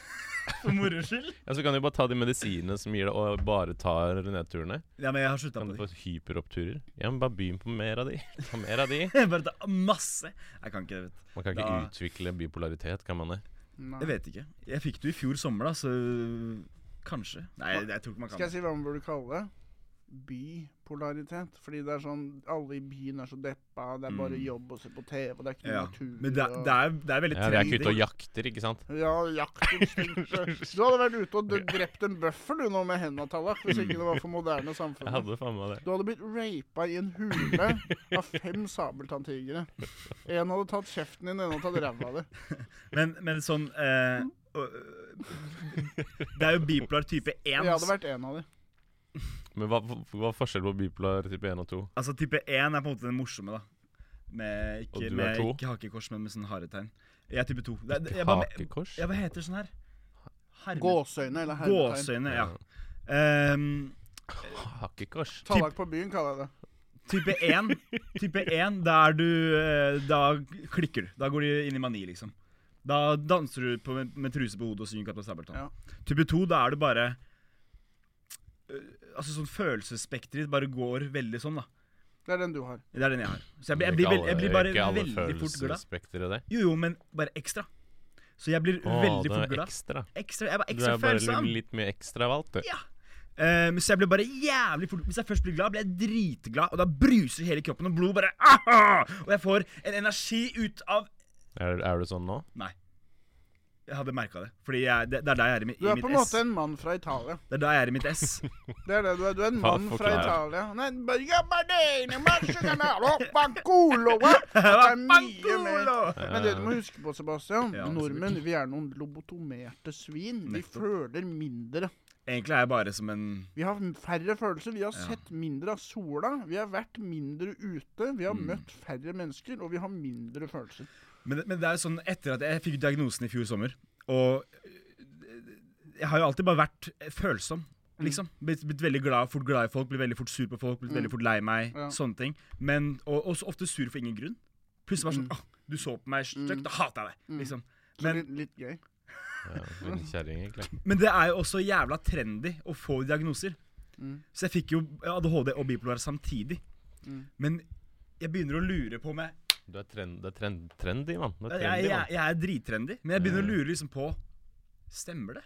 For moro skyld. Ja, Så kan du bare ta de medisinene som gir deg, og bare tar nedturene. Ja, men jeg har slutta Kan på du det. få hyperoppturer? Ja, men bare begynn på mer av de. Ta mer av de. Jeg bare tar masse. Jeg kan ikke det, vet du. Man kan ikke Da- utvikle bipolaritet, kan man det? Jeg Nei. vet ikke. Jeg fikk det jo i fjor sommer, da, så kanskje. Nei, jeg, jeg tror ikke man kan det. Skal jeg si hva man burde kalle det? Bipolaritet. Fordi det er sånn Alle i byen er så deppa, det er bare Mm. jobb og se på TV, det er ikke noe Ja. natur Men det, er- og- det, er, det er veldig Ja, Vi er ikke ute og trendy. jakter, ikke sant? Ja, jaktinstinktet. Du hadde vært ute og dø- drept en bøffel du nå med henda, Tallak, hvis ikke det var for moderne Jeg samfunn. hadde faen meg det. Du hadde blitt rapa i en hule av fem sabeltanntigre. En hadde tatt kjeften din, en hadde tatt ræva di. Men, men sånn eh, og, øh, Det er jo bipolar type 1. Jeg hadde vært en av de. Men hva, hva er forskjellen på bipolar type 1 og 2? Altså type 1 er på en måte den morsomme, da. Med Og ikke, du er med, to? ikke hakekors, men med sånn haretegn. Jeg er type 2. Det, det, jeg, bare, Hakekors? ja, hva heter det sånn her? Herme- Gåseøyne eller hermetegn. Gåseøyne, ja. Ehm, Hakekors. Tallak på byen, kaller jeg det. type 1, type 1 der du eh, Da klikker du. Da går du inn i mani, liksom. Da danser du på, med, med truse på hodet og synger Kaptein Sabeltann. Ja. Type 2, da er du bare eh, Altså sånn følelsesspekteret bare går veldig sånn, da. Det er den du har. Det er den jeg har. Så jeg, blir- jeg, blir, veld, jeg blir bare veldig fort glad. følelsesspekter i det. Jo, jo, men bare ekstra. Så jeg blir Å, veldig du fort er glad. ekstra. Ekstra, jeg er bare Du ekstra er bare følsom. litt, litt mer ekstra valgt, du. Ja. Eh, men så jeg blir bare jævlig fort Hvis jeg først blir glad, blir jeg dritglad, og da bruser hele kroppen, og blodet bare aha! Og jeg får en energi ut av Er, er du sånn nå? Nei. Jeg hadde merka det. Fordi jeg, det, det er der jeg er i, mi- Du i er på mitt en S. måte en mann fra Italia. Det er der jeg er i mitt S. Det er det du er. Du er en Fa- mann fra forklar. Italia. Nei, bare gabardine, marcianello, banculo, hva? Det er mye mer. Bankolo! Men det du må huske på, Sebastian, Eh, Ja, altså, nordmenn vi er noen lobotomerte svin. Vi Nettopp. føler mindre. Egentlig er jeg bare som en Vi har færre følelser. Vi har sett mindre av sola. Vi har vært mindre ute. Vi har Mm. møtt færre mennesker, og vi har mindre følelser. Men, men det er jo sånn etter at jeg fikk diagnosen i fjor sommer, og øh, jeg har jo alltid bare vært eh, følsom. Liksom. Blitt, blitt veldig glad, fort glad i folk, blitt veldig fort sur på folk, blitt veldig fort lei meg. Ja. Sånne ting. Men, og og så ofte sur for ingen grunn. Plutselig bare sånn Åh, du så på meg stygt, da hater jeg deg! Liksom. Så Men, litt, litt gøy. Ja, en kjerring, egentlig. men det er jo også jævla trendy å få diagnoser. Så jeg fikk jo ADHD og bipolar samtidig. Men jeg begynner å lure på om jeg Du er, trend, det er trend, trendy, mann. Du er Jeg, jeg, trendy, jeg, mann. jeg er drittrendy, men jeg begynner å lure liksom på Stemmer det?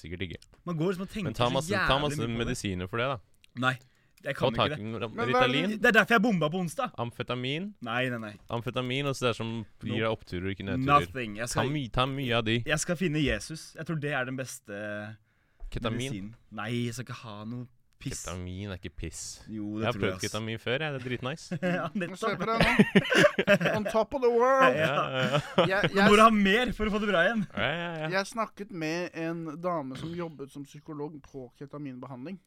Sikkert ikke. Man går liksom og tenker Men ta så masse, ta jævlig masse mye på det. medisiner for det, da. Nei, jeg Ta kan tak ikke i det. hva er det- Ritalin, Det er derfor jeg bomba på onsdag. amfetamin, Nei, nei, nei. amfetamin og så det som gir deg oppturer, ikke nedturer. Nothing. Jeg Ta, skal, my, ta mye av de. jeg skal finne Jesus. Jeg tror det er den beste Ketamin. medisinen. Nei, jeg skal ikke ha noe Piss. Ketamin er ikke piss. Jo, Jeg det har tror prøvd jeg. ass. ketamin før, jeg. Det er dritnice. Ja, Se på nettopp. deg nå. On top of the world. Ja, ja, ja. Jeg, Du må du jeg, ha mer for å få det bra igjen. ja, ja, ja. jeg snakket med en dame som jobbet som psykolog på ketaminbehandling.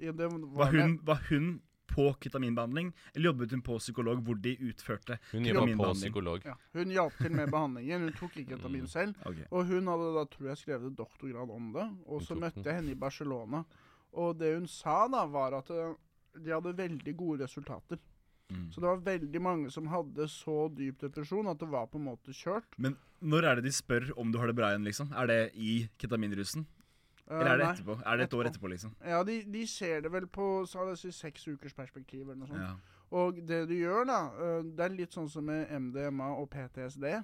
Ja, det Mm. Var, det- hun, var hun på ketaminbehandling, eller jobbet hun på psykolog hvor de utførte Hun jobba på Ketaminbehandling. psykolog. Ja, hun hjalp til med behandlingen. Hun tok ikke Mm. ketamin selv. Ok. Og hun hadde da, tror jeg, skrevet doktorgrad om det. Og så tok den. møtte jeg henne i Barcelona. Og det hun sa da, var at eh, de hadde veldig gode resultater. Mm. Så det var veldig mange som hadde så dyp depresjon at det var på en måte kjørt. Men når er det de spør om du har det bra igjen, liksom? Er det i ketaminrusen? Eh, Eller er det nei. etterpå? Er det et år etterpå, liksom? Ja, de, de ser det vel på så la oss si, seks ukers perspektiv eller noe sånt. Ja. Og det du gjør da, eh, det er litt sånn som med MDMA og PTSD.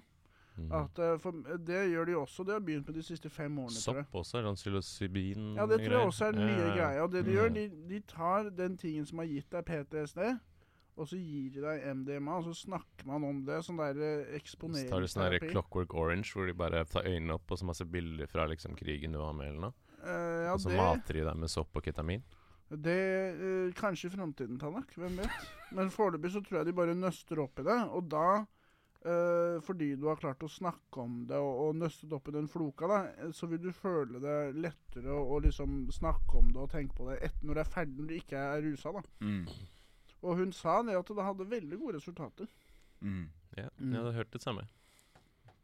Mm. Mm. At, eh, for det gjør de også. Det har begynt med de siste fem årene, tror jeg. Sopp også. er sånn Psilocybin Ja, det tror jeg også er den nye Mm, Ja, Mm. ja, ja. greia. Og det de Ja. gjør, de, de tar den tingen som har gitt deg PTSD, og så gir de deg MDMA, og så snakker man om det. Sånn der eh, Så tar du sånn der eksponeringsterapi. Clockwork Orange, hvor de bare tar øynene opp og så masse bilder fra liksom krigen du var med, eller noe. Eh, ja, og så det, mater de deg med sopp og ketamin. det eh, Kanskje i framtiden, Tanak. Hvem vet. Men foreløpig så tror jeg de bare nøster opp i det. Og da eh, fordi du har klart å snakke om det og, og nøstet opp i den floka, da, eh, så vil du føle det lettere å, å liksom snakke om det og tenke på det etter når du er ferdig, når du ikke er rusa. da. Mm. Og hun sa det at det hadde veldig gode resultater. Mm. Ja, Mm. jeg hadde hørt det samme.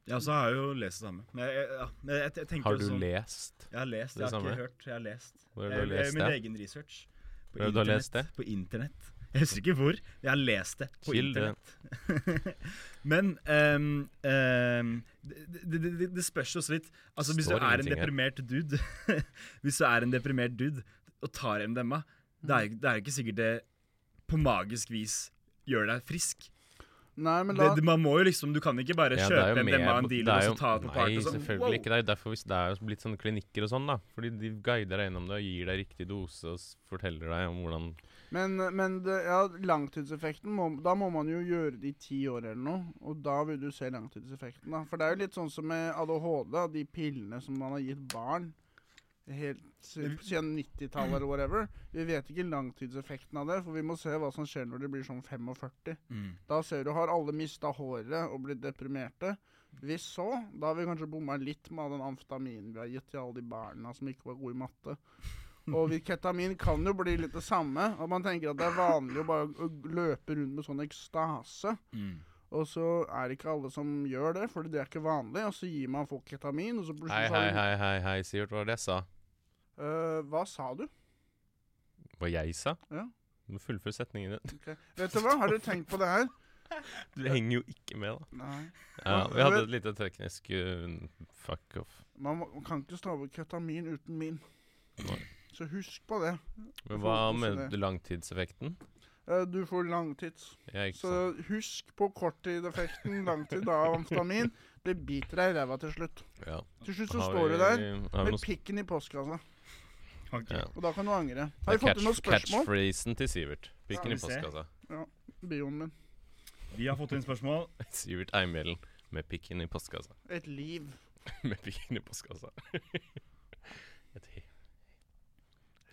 Ja, så har jeg jo lest det samme. Men jeg, jeg, ja, men jeg, jeg tenker Har jo du sånn- lest? Jeg har lest, det jeg har samme? ikke hørt. Jeg har lest. Hvor har du Jeg- jeg- lest min det? egen research. På Hvor har du internett- lest det? På internett. Jeg husker ikke hvor. men Jeg har lest det på Kilde. internett. Men ehm, ehm, det, det, det- det, det spørs jo også litt Altså Hvis du er Står en ingenting her. deprimert dude Hvis du er en deprimert dude og tar MDMA, det er, det er ikke sikkert det på magisk vis gjør deg frisk. Nei, men Det, da, det, man må jo liksom Du kan ikke bare Ja, det kjøpe er jo mer- MDMA og en det dealer og er jo- så ta det på party Nei, og sånn. selvfølgelig ikke. Det er jo derfor hvis det er jo blitt sånne klinikker og sånn, da. Fordi de guider deg gjennom det og gir deg riktig dose og s- forteller deg om hvordan men, men det, ja, langtidseffekten må, Da må man jo gjøre det i ti år eller noe, og da vil du se langtidseffekten. da. For det er jo litt sånn som med ADHD, da, de pillene som man har gitt barn helt si- Mm. siden 90-tallet eller whatever. Vi vet ikke langtidseffekten av det, for vi må se hva som skjer når de blir sånn 45. Mm. Da ser du har alle mista håret og blitt deprimerte. Hvis så, da har vi kanskje bomma litt med all den amfetaminen vi har gitt til alle de barna som ikke var gode i matte. Og vi- ketamin kan jo bli litt det samme. At man tenker at det er vanlig å bare å løpe rundt med sånn ekstase. Mm. Og så er det ikke alle som gjør det, for det er ikke vanlig. Og så gir man folk ketamin, og så plutselig Hei, så har hei, du- hei, hei, hei, Sivert. Hva var det jeg sa? Øh, Hva sa du? Hva jeg sa? Ja. Du må fullføre setningen din. Ok. Vet du hva, har dere tenkt på det her? Du henger jo ikke med, da. Nei. Ja, Hva- vi hadde et lite teknisk uh, fuck off. Man må- kan ikke stave ketamin uten min. Nei. Så husk på det. Men Jeg får hva også med det. langtidseffekten? Eh, Du får langtids. Ja, ikke Så sant? husk på korttideffekten, langtid av amfetamin. Det biter deg i ræva til slutt. Ja. Til slutt så Har vi- står du der har vi med noen sp- pikken i postkassa, Ok. Ja. og da kan du angre. Det Har er vi fått inn noen catch- spørsmål? Catchphrasen til Sivert. Ja, Pikken i vi ser. postkassa. Bioen min. Vi har fått inn spørsmål. Sivert Eimhjellen med pikken i postkassa. Et liv. med pikken i postkassa. Et he-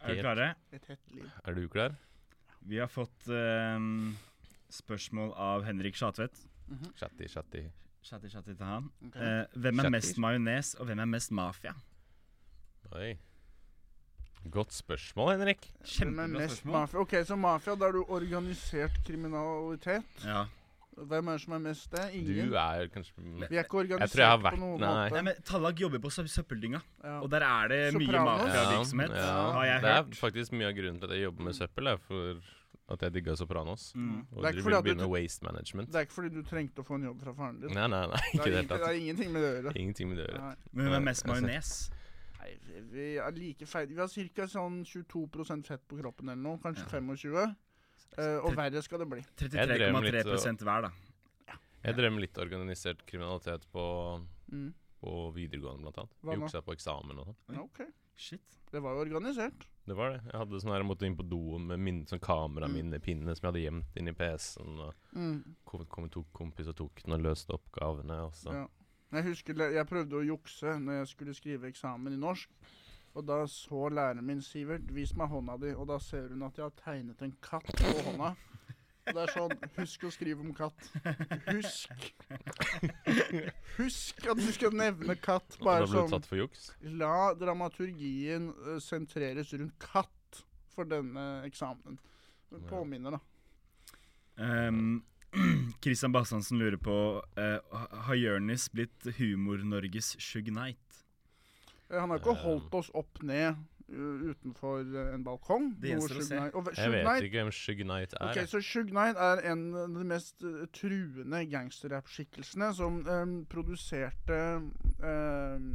Er Helt. dere klare? Et hett liv. er du klar? Vi har fått ehm, spørsmål av Henrik Schatvedt. Mhm. Chatti, chatti. Chatti, chatti til han. Ok. Eh, hvem er Chatti. mest majones, og hvem er mest mafia? Oi. Godt spørsmål, Henrik. Hvem er Kjempebra mest spørsmål. mafia? Ok, så mafia, da er du organisert kriminalitet. Ja. Hvem er det som er mest det? Ingen. Du er kanskje mm, Vi er ikke jeg organisert har vært- på noen nei. Nei, måte. men Tallak jobber på sø- søppeldynga, Ja. og der er det mye Sopranos. mafiavirksomhet, ja, ja. har jeg Det er hørt. faktisk mye av grunnen til at jeg jobber med søppel, er for at jeg digga Sopranos. Mm. Og Det er dere ikke ville fordi at du begynne med waste management. Det er ikke fordi du trengte å få en jobb fra faren din. Nei, nei, nei, Det ikke i er, det ingen- hele tatt. det er ingenting med det å gjøre. Ingenting med det å gjøre. Nei. Men hvem er Nei, mest jeg ser- majones? Nei, vi- vi er like feil. Vi har ca. Sånn 22 fett på kroppen eller noe. Kanskje 25. eh, og verre skal det bli. Jeg drev med litt, 33,3 hver, da. Jeg drev med litt organisert kriminalitet på, Mm. på videregående, blant annet. Hva da? Juksa på eksamen og sånn. Oi. Ja, OK. Shit. Det var jo organisert. Det var det. Jeg hadde sånn her, jeg måtte inn på doen med min, sånn kameraminne-pinne som jeg hadde gjemt inn i PC-en. Og Mm. kom, kom to kompiser tok den og løste oppgavene. Og så. Ja. Jeg husker le- jeg prøvde å jukse når jeg skulle skrive eksamen i norsk. Og da så læreren min, Sivert, vis meg hånda di, og da ser hun at jeg har tegnet en katt på hånda. Og det er sånn, husk å skrive om katt. Husk. Husk at du skal nevne katt. Og da Bare ble du sånn, tatt for juks? la dramaturgien eh, sentreres rundt katt for denne eksamenen. Påminner, da. Um, Christian Bastiansen lurer på eh, ha- Har Jonis blitt Humor-Norges Shug Knight? Eh, Han har ikke Eh. holdt oss opp ned u- utenfor eh, en balkong. Det gjenstår noe å Suge se. Knight- og ve- Jeg Suge vet Knight- ikke hvem Shug Knight er. Ok, jeg. så Suge Knight er en av de mest eh, truende gangsterrap-skikkelsene som em, produserte em,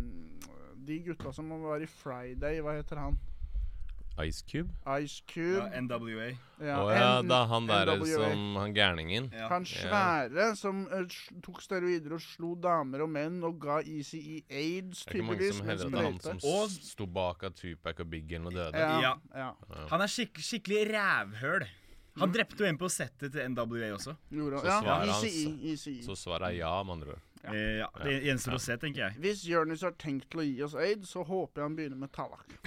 de gutta som var i Friday, hva heter han? Ice Cube? Ice Ja, Cube. NWA. Å Ja, ja, en- da han der NWA. som Han gærningen. Ja. Han svære som eh, sl- tok steroider og slo damer og menn og ga ECE aids, Det er ikke mange tydeligvis. som med heller at det er han sprøyte. som Og- s- sto bak at Tupac og Big N og døde. ja, Ja. ja, Han er skikk- skikkelig rævhøl. Han drepte jo en på settet til NWA også. gjorde Så han. Ja, svaret hans- ECE, ECE. Så svaret er ja, med andre ord. Ja. Eh, ja, det gjenstår å se, tenker jeg. Hvis Jonis har tenkt til å gi oss aids, så håper jeg han begynner med tallak.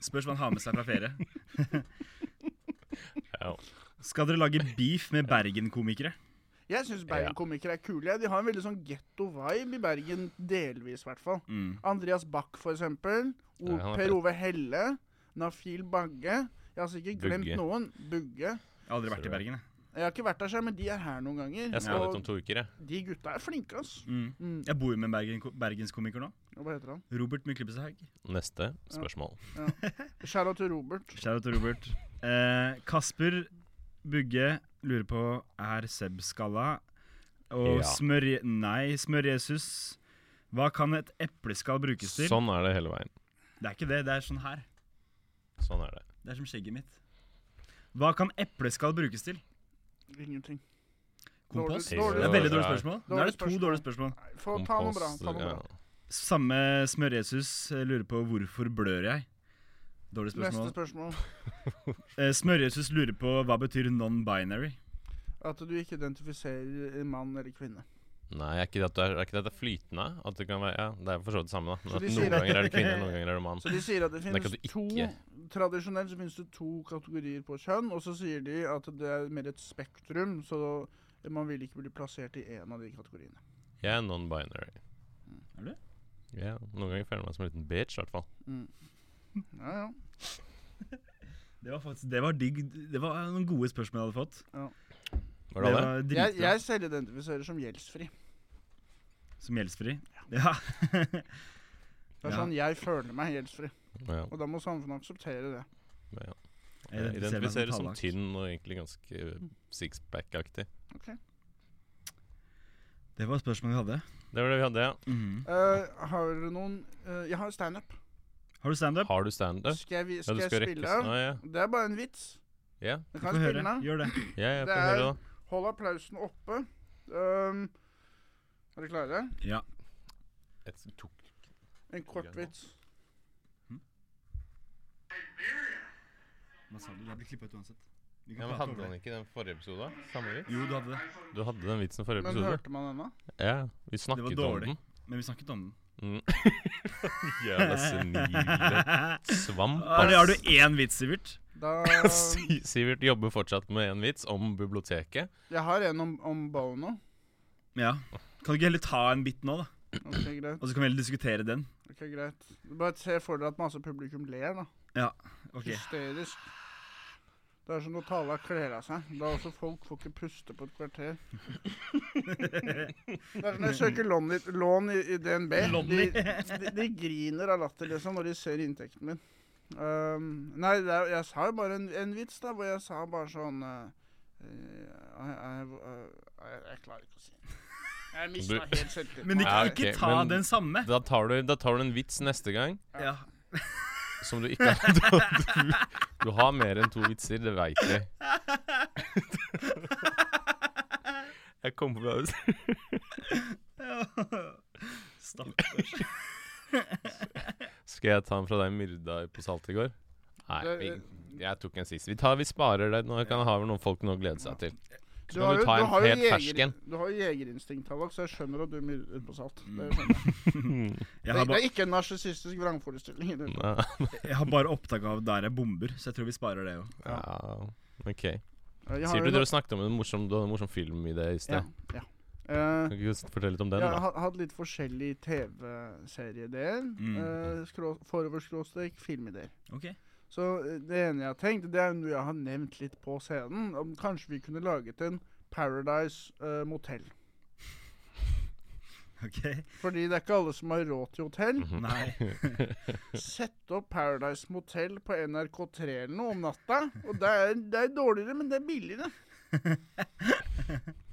Spørs hva han har med seg fra ferie. Ja. Skal dere lage beef med Bergen-komikere? Jeg syns Bergen-komikere er kule. ja. De har en veldig sånn getto-vibe i Bergen, delvis i hvert fall. Mm. Andreas Bach, for eksempel. Ja, O han er per fet. Ove Helle. Nafil Bagge. Jeg har sikkert glemt Bugge. noen. Bugge. Jeg har aldri vært i Bergen, jeg. Jeg har ikke vært der selv, men de er her noen ganger. Jeg skal sånn og dit om to uker, jeg. de gutta er flinke, ass. Mm. Mm. Jeg bor jo med en Bergen, bergenskomiker nå. Hva heter han? Robert Myklebusthaug. Neste spørsmål. Shout out til Robert. Shout out til Robert. Eh, Kasper Bugge lurer på er Seb skalla. Og Ja. smør... Nei, smør-Jesus. Hva kan et epleskall brukes til? Sånn er det hele veien. Det er ikke det, det er sånn her. Sånn er det. Det er som skjegget mitt. Hva kan epleskall brukes til? Ingenting. Kompost? Dårlig- dårlig- Det er veldig dårlig Ja. spørsmål. Nå er det to Dårlig dårlige spørsmål. Nei, Få ta noe bra. Ta noe bra. ja. Samme smør-Jesus eh, lurer på hvorfor blør jeg? Dårlig Neste spørsmål. spørsmål. Eh, Smør-Jesus lurer på hva betyr non-binary? At du ikke identifiserer en mann eller kvinne. Nei, er ikke det at det er, er ikke det at det er flytende? At det kan være Ja, det er for så vidt det samme, da. Men Så de at sier noen at- ganger er det kvinne, noen ganger er det mann. Så de sier at det Men det er ikke finnes at du to Tradisjonelt så finnes det to kategorier på kjønn, og så sier de at det er mer et spektrum, så man vil ikke bli plassert i en av de kategoriene. Jeg er non-binary. Mm. Er du det? Ja, noen ganger føler jeg meg som en liten bitch, i hvert fall. Mm. Ja, ja. Det var faktisk, det var digg. Det var noen gode spørsmål jeg hadde fått. Var det det? var dritbra. Jeg, jeg selvidentifiserer som gjeldsfri. Som gjeldsfri? Ja. Det Ja. er sånn jeg føler meg gjeldsfri, Ja. og da må samfunnet akseptere det. ja. Jeg identifiserer meg Jeg som identifiserer som tallakt. tynn og egentlig ganske eh, sixpack-aktig. Det var spørsmålet vi hadde. Mhm. Det var det vi hadde, ja. Eh, har dere noen eh, Jeg har standup. Har du standup? Har du standup? Skal jeg, vi- Ja, skal du jeg skal spille? rekke ah, ja. Det er bare en vits. Ja, Få Jeg kan spille høre. den av. Gjør det. ja jeg Det får høre, er- da. Hold applausen oppe. Um, er dere klare? Ja. Et, tok. En kort vits. Hva sa du? Du hadde klippet uansett. Vi Ja, kan men prate Hadde over han det. ikke den forrige episoden? Samme vits? Jo, du hadde det. Du hadde den vitsen forrige Men episode? hørte man denne? Ja, vi snakket om dårlig. den. Men vi snakket om den. Mm. Jævla senile svamp. Ah, Har du, har du én vits, Sivert? Da Si- Sivert jobber fortsatt med en vits om biblioteket. Jeg har en om, om Bono. Ja. Kan du ikke heller ta en bit nå, da? Ok, greit. Og så kan vi heller diskutere den. ok, greit. Bare se for dere at masse publikum ler, da. Ok. Hysterisk. Det er som når Tala kler av seg. Da også folk får ikke puste på et kvarter. Det er som når jeg søker lån i, lån i, i DNB. De, Lonny. de, de griner av latter liksom når de ser inntekten min. Ehm, nei, det er, jeg sa jo bare en, en vits, da, hvor jeg sa bare sånn eh, eh, jeg, jeg, jeg, jeg klarer ikke å si det. Jeg mista Du- helt selvtilliten. Men ikke, Ja, ikke ok, ta men- den samme. Da tar, du, da tar du en vits neste gang Ja. som du ikke har Du, du, du har mer enn to vitser, det veit vi. Jeg kom på det. Stakkars. Skal jeg ta den fra deg myrda på salt i går? Nei, vi, Det- jeg tok en sist. Vi, tar, vi sparer det. Nå kan jeg ha noen folk nå å glede seg til. Så kan du ta en jo fet jeger- fersken. Du har jo jegerinstinkt, Tallak, så jeg skjønner at du myrer på salt. Det, skjønner jeg. Jeg det, har, det ba er ikke en narsissistisk vrangforestilling. i det. Mm. jeg har bare opptak av der er bomber, så jeg tror vi sparer det jo. Ja, OK. Jeg har Sier jo du no- dere snakket om en morsom, du hadde en morsom film i det i sted? Ja. ja. Eh, Kan ikke du s- fortelle litt om den, jeg da? har hatt litt forskjellige TV-serieideer. Mm. eh, skrå- Foroverskråstrek filmideer. Ok. Så eh, det ene jeg har tenkt, det er noe jeg har nevnt litt på scenen. Om kanskje vi kunne laget en Paradise eh, Motel. ok. Fordi det er ikke alle som har råd til hotell. Mhm. Nei. Sett opp Paradise Motel på NRK3 eller noe om natta. Og det er, det er dårligere, men det er billigere.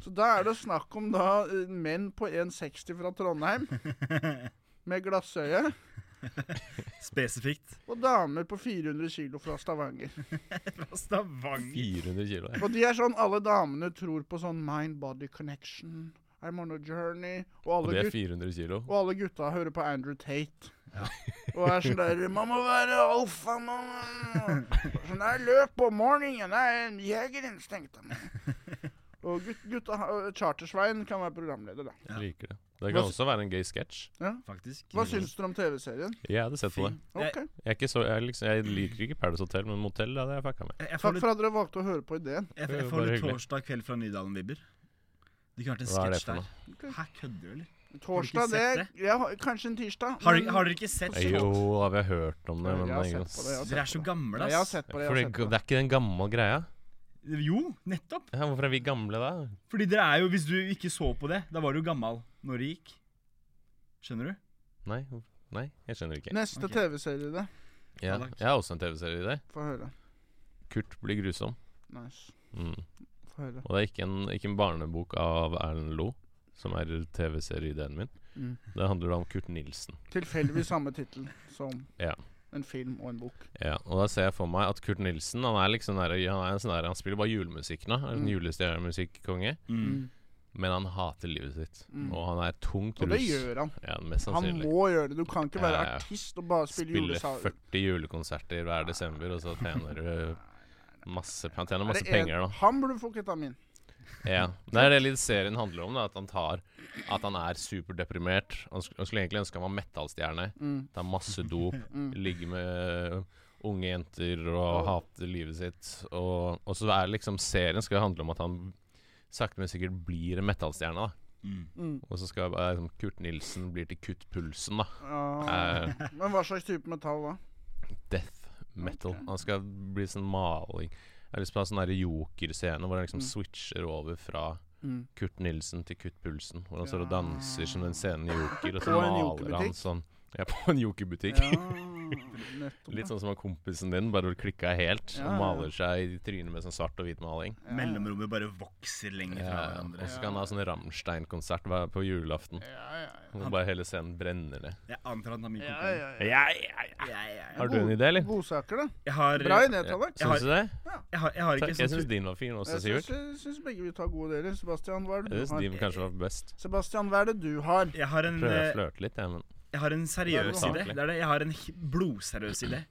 Så da er det snakk om da eh, menn på 1,60 fra Trondheim med glassøye, Spesifikt. og damer på 400 kilo fra Stavanger. Fra Stavanger. 400 kilo. ja. Og de er sånn, alle damene tror på sånn mind-body connection, I'm on a journey, og Og alle, det er gut 400 kilo. og alle gutta hører på Andrew Tate. og er sånn der Man må være alfa, man. Sånn der løp om morgenen, det er en jegerinstinkt. man.» Og gut, gutta, har- Chartersveien kan være programleder, da. Ja. Liker det. Det kan Hva- også være en gøy sketsj. Faktisk. Hva syns dere om TV-serien? Jeg hadde sett på det. Ok. Jeg, er ikke så, jeg, liksom, jeg liker ikke Paradise Hotel, men motell hadde jeg fucka med. Jeg, jeg får Takk litt, for at dere valgte å høre på ideen. jeg, Det er jeg jo får bare litt hyggelig. torsdag kveld fra Nydalen-vibber. De kunne vært en Hva er det sketsj for der. noe? Hæ, kødder du, eller? Torsdag, sett det ja, Kanskje en tirsdag. Har, dere- men- har dere ikke sett Eh, Jo, har vi hørt om det, Jeg men har ingen- sett på det, jeg har sett Dere er så på det. gamle, Nei, jeg har ass. sett på det. For Jeg det, har sett på det er ikke den gamle greia. Jo, nettopp. Ja, hvorfor er vi gamle da? Fordi dere er jo Hvis du ikke så på det, da var du gammel når det gikk. Skjønner du? Nei, hvor- nei jeg skjønner ikke. Neste Ok. TV-serie, det. Ja, Alex. jeg har også en TV-serie i det. Få høre. Kurt blir grusom. Nice. Mm. Få høre. Og det er ikke en, ikke en barnebok av Erlend Lo, som er TV-serieideen min. Mm. Det handler da om Kurt Nilsen. Tilfeldigvis samme tittel som Ja. en film og en bok. Ja, og da ser jeg for meg at Kurt Nilsen Han er liksom der, ja, han, er en sånn der, han spiller bare julemusikk nå. Han er en Mm. Julestjernemusikkonge. Mm. Mm. Men han hater livet sitt. Mm. Og han er tungt Og det rus. gjør han. Ja, mest Han sannsynlig. må gjøre det. Du kan ikke være Ja, ja. artist og bare spille Spiller julesanger. 40 julekonserter hver desember, og så tjener du masse, han tjener masse penger, da. Han burde få ketamin. Ja. Det er det litt serien handler om. Da, at han tar At han er superdeprimert. Han, sk han skulle egentlig ønske han var metallstjerne. Mm. Tar masse dop, Mm. ligger med øh, unge jenter og Ja. hater livet sitt. Og, og så er liksom serien skal jo handle om at han sakte, men sikkert blir en metallstjerne. da Mm. Mm. Og så skal eh, liksom, Kurt Nilsen blir til Kutt Pulsen, da. Ja. Eh, Men hva slags type metall da? death metal. Ok. Han skal bli sånn maling. Jeg har lyst på en sånn der jokerscene hvor han liksom Mm. switcher over fra Mm. Kurt Nilsen til Kurt Pulsen, hvor han står og Ja. danser som den scenen i Joker, og så På en maler han Joker-butikk? sånn Ja, på en Joker-butikk. Ja, nettopp. Litt sånn som han kompisen din, bare klikka helt. Ja, og ja. maler seg i trynet med sånn svart og hvit maling. Ja. Mellomrommet bare vokser lenger fra Ja, og hverandre. så skal han ha sånn Rammstein-konsert hver- på julaften. Ja, ja, ja. Hvor bare hele scenen brenner ned. Jeg antar han har ja, mikrofon. ja, ja. Ja, ja, ja. Jeg, jeg, Har du en idé, eller? Godsaker, da. jeg har Bra idé, Ja. Tallak. Jeg har- Syns du det? Jeg har, jeg har Takk, ikke Jeg sånn syns din var fin også, Jeg Sivert. syns- Jeg syns begge vi tar gode deler. Sebastian, hva er Jeg det du syns har? din kanskje var best. Sebastian, hva er det du har? Jeg har en, Prøver å eh, flørte litt, jeg, men jeg har en seriøs Nei, idé. det var Det er det. Jeg har en hi- blodseriøs idé.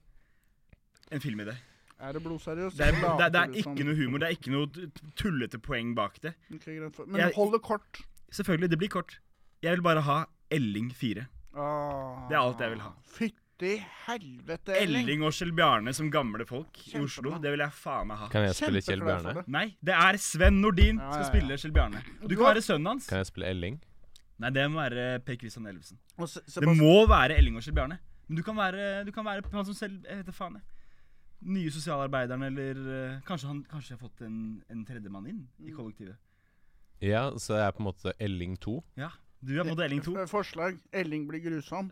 En filmidé. Er det sånn. blodseriøst? Det er, Later det, er- det er du som- ikke noe humor. Det er ikke noe t- tullete poeng bak det. Ok, greit. For- Men Jeg- hold det kort. Selvfølgelig, det blir kort. Jeg vil bare ha Elling 4. Ah, Det er alt jeg vil ha. Fytti helvete, Elling. Elling og Kjell Bjarne som gamle folk i Kjempebra. Oslo. Det vil jeg faen meg ha. Kan jeg spille Kjell Kjempeglad for Bjarne? det. Nei, det er Sven Nordin Ja, som skal ja, spille ja. Kjell Bjarne. Du Du kan har- være sønnen hans. Kan jeg spille Elling? Nei, det må være Per Christian Ellefsen. Og Se Det Sebastian, må være Elling og Kjell Bjarne. Men du kan være, du kan være han som selv Jeg vet da faen, jeg. Nye sosialarbeideren, eller eh, Kanskje han kanskje jeg har fått en, en tredjemann inn Mm. i kollektivet. Ja, så jeg er på en måte Elling 2. Ja. Du er på en måte Elling 2. eh, forslag. Elling blir grusom.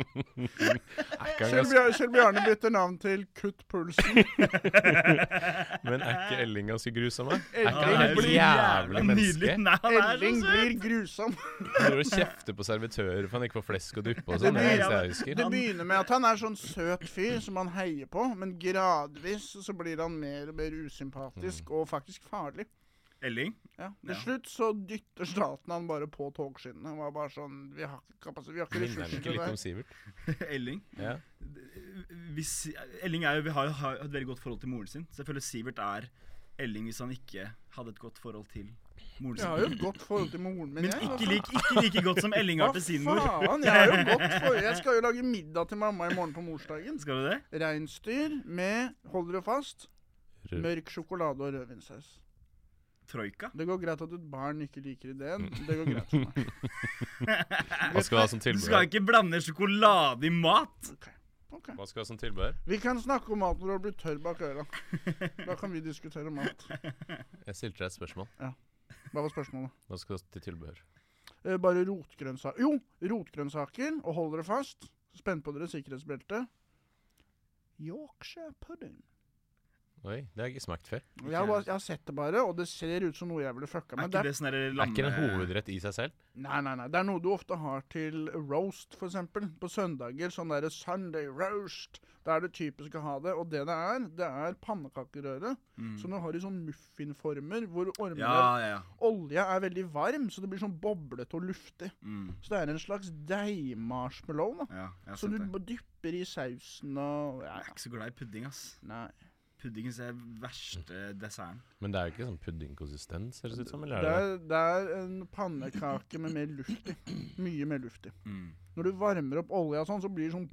Er ikke han Kjell ganske Bjar- Kjell Bjarne bytter navn til Kutt pulsen. Men er ikke Elling ganske grusom, da? Elling ikke han Han er et jo blir- så jævla jævla menneske? nydelig. Nei, han er så Elling søt! blir grusom. Han driver og kjefter på servitører for han ikke får flesk og duppe og Det sånn. Det er blir- det eneste jeg Det husker. Han- begynner med at han er sånn søt fyr som man heier på, men gradvis så blir han mer og mer usympatisk og faktisk farlig. Elling? Ja. Til Ja. slutt så dytter staten han bare på togskinnene. Og var bare sånn Vi har ikke kapasitet, vi har ikke Minner ressurser han ikke til det. litt om der. Sivert? Elling? Ja. Hvis, Elling er jo, vi har jo har et veldig godt forhold til moren sin. Så jeg føler Sivert er Elling hvis han ikke hadde et godt forhold til moren Jeg har jo sin. et godt forhold til moren min, Men jeg. ikke, lik, ikke like godt som Elling har til sin mor. Hva faen? Jeg har jo godt forhold. Jeg skal jo lage middag til mamma i morgen på morsdagen. Skal du det? Reinsdyr med, hold dere fast, Rød- mørk sjokolade og rødvinsaus. Troika? Det går greit at et barn ikke liker ideen. Det går greit for meg. Hva skal du ha som Du skal tilbehør? ikke blande sjokolade i mat! Ok, ok. Hva skal du ha som tilbehør? Vi kan snakke om mat når du blir tørr bak øra. Da kan vi diskutere mat. Jeg stilte deg et spørsmål. Hva var spørsmålet? Hva skal du ha til tilbehør? Eh, bare rotgrønnsaker. Jo, rotgrønnsaker. Og hold dere fast. Spenn på dere sikkerhetsbeltet. Yorkshire pudding. Oi, det har jeg ikke smakt før. Jeg har, bare, jeg har sett det bare, og det ser ut som noe jeg ville Er fucka med. ikke Det er, det sånn derre Er ikke det lamme... en hovedrett i seg selv? nei, nei, nei. Det er noe du ofte har til roast, for eksempel. På søndager. Sånn derre Sunday roast. Da er det typisk å ha det. Og det det er, det er pannekakerøre Mm. som du har i sånn muffinformer, hvor ormer Ja, ja. ja. Olja er veldig varm, så det blir sånn boblete og luftig. Mm. Så det er en slags deigmarshmallow, da. Ja, jeg har Som sett du det. bare dypper i sausen og ja, Jeg er ja. ikke så glad i pudding, ass. Nei. Puddingen er verste desserten. Men det er jo ikke sånn puddingkonsistens, ser det ut som? Det Eller er det? er, det er en pannekake med mer luft i. Mye mer luft i. Mm. Når du varmer opp olja og sånn, så blir det sånn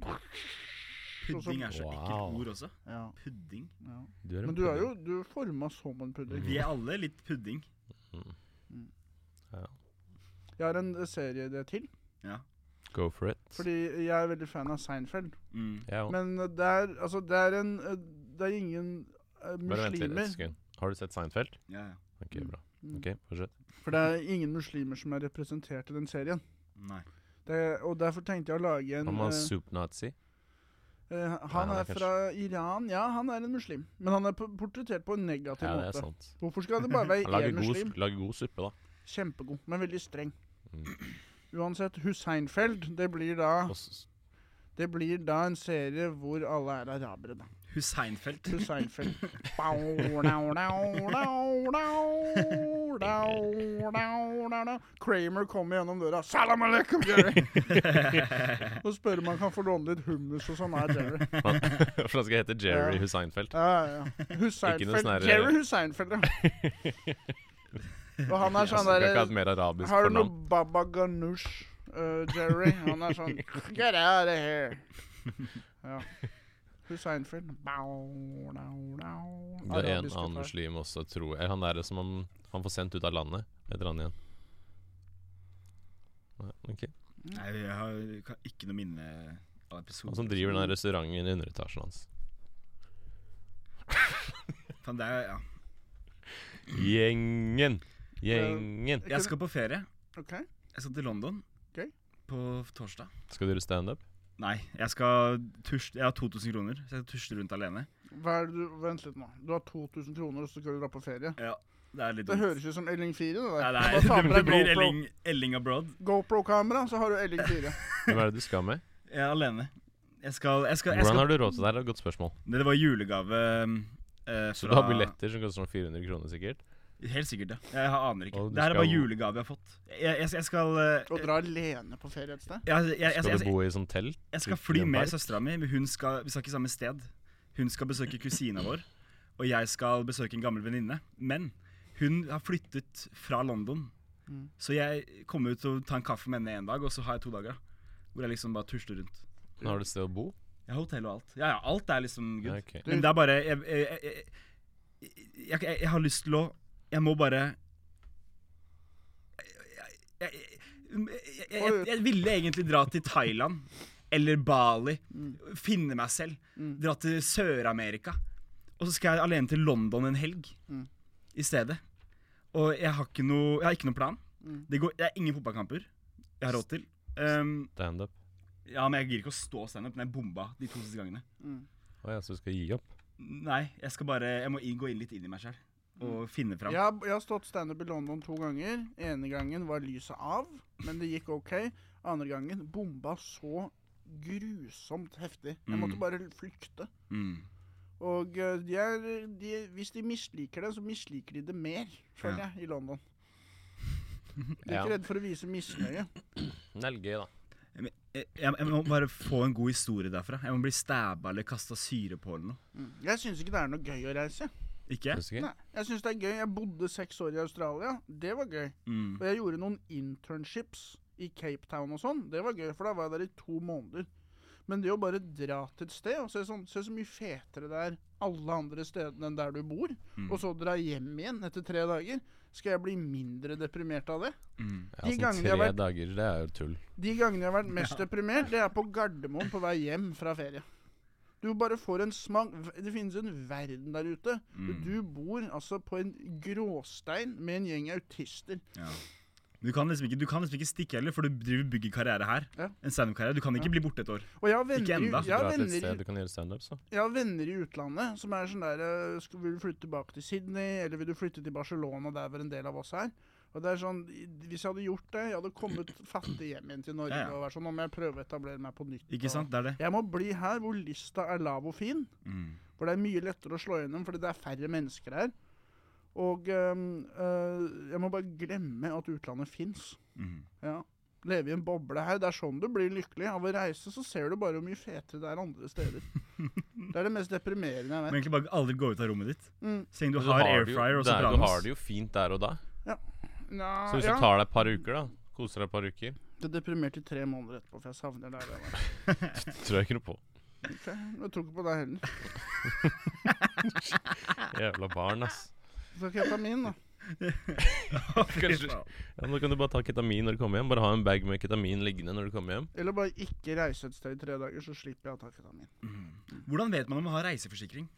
Pudding er så Wow. ekkelt ord også. ja, Pudding. ja. det? er en Mm. Men du er pudding. jo du er forma som en pudding. Vi er alle litt pudding. Jeg har en eh, serie det til, Ja. Go for it. fordi jeg er veldig fan av Seinfeld. Mm. Ja, jo. Men det er, altså, det er en eh, Det er ingen eh, Bare vent litt et muslimer sekund. Har du sett Seinfeld? ja, ja. Ok, Mm. bra. Mm. Ok, fortsett. For det er ingen muslimer som er representert i den serien. Nei. Det, og derfor tenkte jeg å lage en Han var eh, soup-nazi. eh, han Han er er fra Iran. Ja, han er en muslim. Men han er p- portrettert på en negativ Ja, det er måte. sant. Hvorfor skal det bare Han være lager én god, muslim? sup- lager god suppe, da. Kjempegod, men veldig streng. Mm. Uansett, Husseinfeld, det blir da Og s- Det blir da en serie hvor alle er arabere, da. Husseinfelt. Husseinfeld. Bau, dau, dau, dau, dau, dau, dau, dau, dau. Kramer kommer gjennom døra. Salam aleikum, Jerry! og spør om han kan få låne litt hummus hos han her, Jerry. For han skal hete Jerry Ja. Husseinfeld. Ja, ja, ja. Ikke noe sånn Husseinfeld. her- Jerry Husseinfeld, ja. Og han er Jeg skal sånn ikke ha et derre mer arabisk Har du noe fornavn. baba ganoush, eh, Jerry? Han er sånn Get out of here! Ja. Husseinfeld. Bau, dau, dau. Det er en Arabiske annen far. muslim også, tror jeg. Han der som han, han får sendt ut av landet. Heter han igjen? Nei, ok. Nei, jeg har kan ikke noe minne av episoden. Han som driver den der restauranten i underetasjen hans. Fan, det er, ja. Gjengen! Gjengen! Jeg skal på ferie. Ok. Jeg skal til London Ok. på torsdag. Skal du gjøre standup? Nei, jeg skal tusle Jeg har 2000 kroner, så jeg skal tusle rundt alene. Hva er det du, vent litt nå. Du har 2000 kroner, og så skal du dra på ferie. Ja, Det er litt Det dumt. høres ut som Elling 4. Det Nei, der. det, Bare ta er, med det deg blir GoPro. Elling, Elling abroad. GoPro-kamera, så har du Elling 4. Hvem er det du skal med? Jeg er alene. Jeg skal, jeg skal, jeg skal Hvordan har du råd til det her? Det er et Godt spørsmål. Det var julegave eh, fra Så du har billetter som koster sånn 400 kroner sikkert? Helt sikkert, ja. Jeg har- aner ikke. Og du Det her er bare skal- julegave jeg har fått. Jeg, jeg, jeg skal eh, Og dra alene på ferie et sted. jeg, jeg, jeg, Skal du jeg, bo i sånn telt? jeg skal i fly en med park? søstera mi. men Hun skal, vi skal ikke samme sted. Hun skal besøke kusina vår, og jeg skal besøke en gammel venninne. Men hun har flyttet fra London, Mm. så jeg kommer ut og tar en kaffe med henne en dag, og så har jeg to dager. Hvor jeg liksom bare tusler rundt. Men Har du et sted å bo? Jeg har hotell og alt. Ja, ja, alt er liksom good. Ok. Men det er bare jeg, jeg, jeg, jeg, jeg, jeg har lyst til å Jeg må bare Jeg, jeg, jeg, jeg, jeg, jeg ville egentlig dra til Thailand eller Bali. Finne meg selv. Mm. Dra til Sør-Amerika. Og så skal jeg alene til London en helg Mm. i stedet. Og jeg har ikke noe, jeg har ikke noe plan. Mm. Det, går, det er ingen fotballkamper jeg har råd til. Um, Standup? ja, men jeg gir ikke å stå standup, men jeg bomba de to siste gangene. Mm. Å ja, så du skal gi opp? Nei, jeg skal bare Jeg må inn, gå inn litt inn i meg selv og finne fram. Jeg, har, jeg har stått standup i London to ganger. Ene gangen var lyset av, men det gikk OK. Andre gangen bomba så grusomt heftig. Jeg måtte Mm. bare flykte. Mm. Og eh, de er, de, hvis de misliker det, så misliker de det mer, føler Ja. jeg, i London. De er Ja. ikke redde for å vise misnøye. Det er litt gøy, da. Jeg, jeg, jeg må bare få en god historie derfra. Jeg må bli stabba eller kasta syre på eller noe. Mm. Jeg syns ikke det er noe gøy å reise. Ikke? Synes du ikke? Nei, jeg syns det er gøy. Jeg bodde seks år i Australia. Det var gøy. Mm. Og jeg gjorde noen internships i Cape Town og sånn. Det var gøy, for da var jeg der i to måneder. Men det å bare dra til et sted og se, sånn, se så mye fetere det er alle andre stedene enn der du bor, Mm. og så dra hjem igjen etter tre dager Skal jeg bli mindre deprimert av det? Mm. Ja, sånn gangene jeg tre har vært- dager, det er jo tull. De gangene jeg har vært mest deprimert, det er på Gardermoen på vei hjem fra ferie. Du bare får en smak Det finnes en verden der ute. Mm. Du bor altså på en gråstein med en gjeng autister. Ja. Du kan, liksom ikke, du kan liksom ikke stikke heller, for du driver og bygger karriere her. Ja. En standup-karriere. Du kan ikke bli borte et år. Og jeg har venner, Ikke i- enda. jeg har Dra til et venner i sted du kan gjøre standup, så. Jeg har venner i utlandet som er sånn der eh, skal, Vil du flytte tilbake til Sydney, eller vil du flytte til Barcelona, der var en del av oss her? Og det er sånn, i- Hvis jeg hadde gjort det, jeg hadde kommet fattig hjem igjen til Norge. Ja, ja. og vært sånn, Nå må jeg prøve å etablere meg på nytt. Ikke og- sant? Det er det. Jeg må bli her hvor lista er lav og fin. Mm. Hvor det er mye lettere å slå gjennom fordi det er færre mennesker her. Og ehm, eh, jeg må bare glemme at utlandet fins. Mm. Ja. Leve i en boble her. Det er sånn du blir lykkelig. Av å reise så ser du bare hvor mye fetere det er andre steder. Det er det mest deprimerende Du jeg må vet. egentlig bare aldri gå ut av rommet ditt. Mm. Så lenge du Men har det jo- air fryer og det er- Du har sopranos. det jo fint der og da. Nja, Ah, Så hvis du ja. tar deg et par uker, da Koser deg et par uker. Det er deprimert i tre måneder etterpå, for jeg savner deg. der, da. Tror jeg ikke noe på. Ok, Jeg tror ikke på deg heller. Ah. Jævla barn, ass. Så skal jeg ta min, da. Fy Kanskje- faen. Ja, men Da kan du bare ta ketamin når du kommer hjem. Bare ha en bag med ketamin liggende når du kommer hjem. Eller bare ikke reise et sted i tre dager, så slipper jeg å ta ketamin. Hvordan vet man om man har reiseforsikring?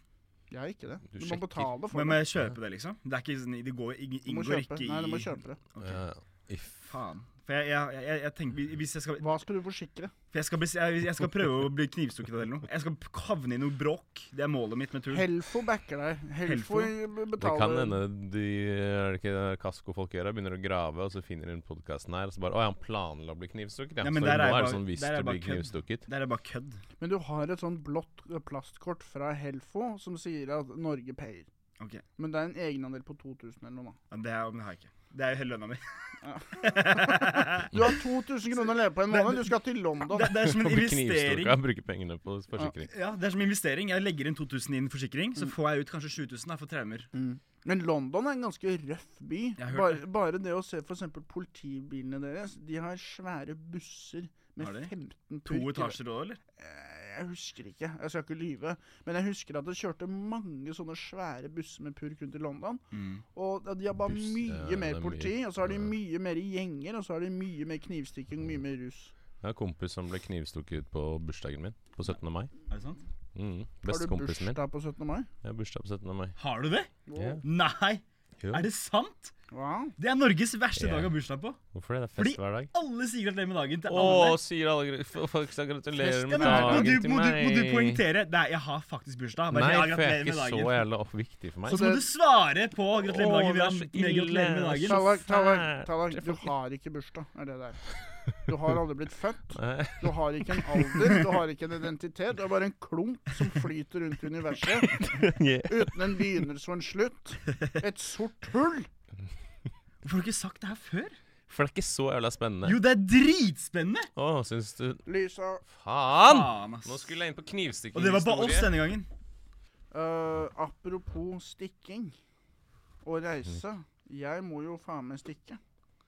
Jeg har ikke det. Du Du, må sjekker. betale for Men må det. jeg kjøpe det, liksom? Det er ikke sånn, det går, ing- Du må inngår kjøpe. ikke i Nei, du må kjøpe det. Ok. Ja, if. Faen. For jeg, jeg, jeg, jeg tenker Hvis jeg skal, Hva skal du forsikre? for jeg skal, bli, jeg, jeg skal prøve å bli knivstukket eller noe. Jeg skal havne i noe bråk. Det er målet mitt med turen. Helfo backer deg. Helfo, Det betaler kan hende de er det ikke kaskofolk gjør, da? begynner å grave, og så finner de podkasten her, og så bare Å ja, han planla å bli knivstukket, ja. Nei, men så der nå er er det bare- sånn hvis der er du bare blir kødd. knivstukket. Det er bare kødd. Men du har et sånn blått plastkort fra Helfo som sier at Norge payer. Ok. Men det er en egenandel på 2000 eller noe. Ja, da. Det, er, det har jeg ikke. Det er jo hele lønna mi. Du har 2000 kroner å leve på en Men- måned, du skal til London. Det, det er som en Blir investering. knivstukket og bruker pengene på forsikring. Ja, det er som en investering. Jeg legger inn 2000 inn forsikring, så får jeg ut kanskje 7000 da, for traumer. Men London er en ganske røff by. Mm. Jeg har hørt Bare, bare det å se f.eks. politibilene deres. De har svære busser Har med de? 15 To purker. etasjer òg, eller? Eh, Jeg husker ikke, jeg skal ikke lyve. Men jeg husker at det kjørte mange sånne svære busser med purk rundt i London. Og de har bare Buss, mye Mm. ja, det mer er politi, mye. og så har de Ja. mye mer gjenger, og så har de mye mer knivstikking, mye mer rus. Jeg har en kompis som ble knivstukket på bursdagen min, på 17. mai. Er det sant? Mm. Har Beste du kompisen min. bursdag på 17. mai? Jeg har bursdag på 17. mai. Har du det? Ja. Nei! Jo. Er det sant? Wow. Det er Norges verste Ja. dag å ha bursdag på. Hvorfor det? Det er Fordi- fest hver dag. Alle sier gratulerer med dagen til Å, alle. sier alle gre- f- folk skal gratulere Fest, Ja, med men må, dagen du, til må, du, meg. må du poengtere? Nei, jeg har faktisk bursdag. Bare Nei, ja, for jeg gratulerer er ikke med så dagen. jævla opp- viktig for meg. Så må du svare på gratulerer med Åh, det er dagen. så Jan, med gratulerer med ille. dagen. Tallak, Tallak, fælt. Tallak, du har ikke bursdag, er det der. Du har aldri blitt født. Du har ikke en alder, du har ikke en identitet. Du er bare en klump som flyter rundt i universet. Uten en begynnelse og en slutt. Et sort hull. Hvorfor har du ikke sagt det her før? For det er ikke så jævla spennende. Jo, det er dritspennende! Å, syns du Lysa Faen! Faen, ass. Nå skulle jeg inn på knivstikking. Og det var bare oss denne gangen. Eh, apropos stikking Mm. og reise. Jeg må jo faen meg stikke.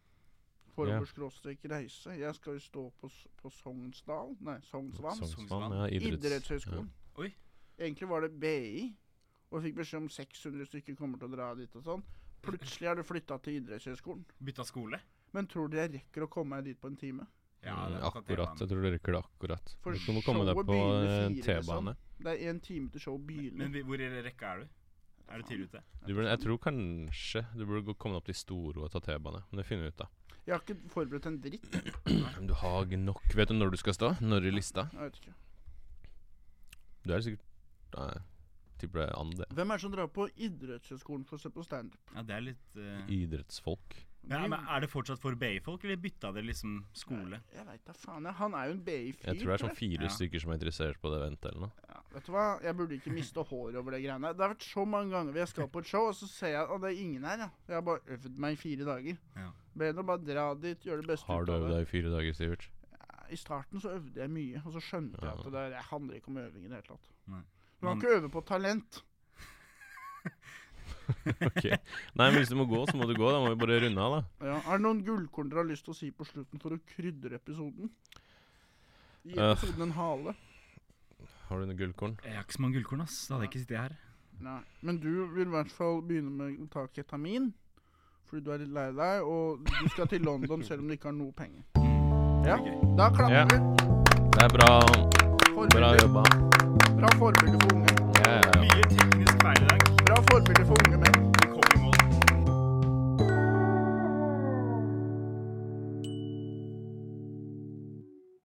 Ja. Forhåndsskråstrek reise. Jeg skal jo stå på, S- på Sognsdal Nei, Sognsvann. Sognsvann, ja, Idrettshøgskolen. Ja. Oi. Egentlig var det BI, og jeg fikk beskjed om 600 stykker kommer til å dra dit og sånn. Plutselig er du flytta til idrettshøgskolen. Bytta skole. Men tror du jeg rekker å komme meg dit på en time? Ja, Ja, det er akkurat det, Mm, akkurat. man. Jeg tror du rekker det akkurat. For du må komme deg showet på begynner eh, fire, liksom. T-bane. Det er én time til showet begynner. Men vi- hvor i rekka er du? Er du tidlig ute? Du burde- Jeg tror kanskje du burde gå- komme deg opp til Storo og ta T-bane. Men det finner vi ut av. Jeg har ikke forberedt en dritt. Men du har nok Vet du når du skal stå? Når i lista? Jeg vet ikke. Du er sikkert Nei, tipper det er andre. Hvem er det som drar på idrettshøgskolen for å se på standup? Ja, det er litt eh, Idrettsfolk. men, men Er det fortsatt for BI-folk, eller bytta dere liksom skole? Jeg veit da faen. jeg. Han er jo en BI-fyr. Jeg tror det er sånn fire Ja. stykker som er interessert på det eventet eller noe. Ja, Vet du hva, jeg burde ikke miste håret over det greiene. Det har vært så mange ganger vi har skal på et show, og så ser jeg at det er ingen her. Ja. Jeg har bare øvd meg i fire dager. Ja. Bedre å bare dra dit, gjøre det beste Har du ut av øvd det. deg i fire dager, Sivert? I starten så øvde jeg mye, og så skjønte jeg at det der det handler ikke om øving i det hele tatt. Nei. Du kan Man- ikke øve på talent. Ok. Nei, men hvis du må gå, så må du gå. Da må vi bare runde av, da. Ja. Er det noen gullkorn dere har lyst til å si på slutten for å krydre episoden? Gi Øh. episoden en hale. Har du noe gullkorn? Jeg har ikke så mange gullkorn, ass. Da hadde jeg ikke sittet her. Nei. Men du vil i hvert fall begynne med å ta ketamin, fordi du er litt lei deg, og du skal til London selv om du ikke har noe penger. Ja, da Ja. klapper vi. Det er bra, bra Forbilder. jobba. Bra forbilde for unge. Ja, ja, ja. Mye teknisk feil i dag. Bra forbilde for unge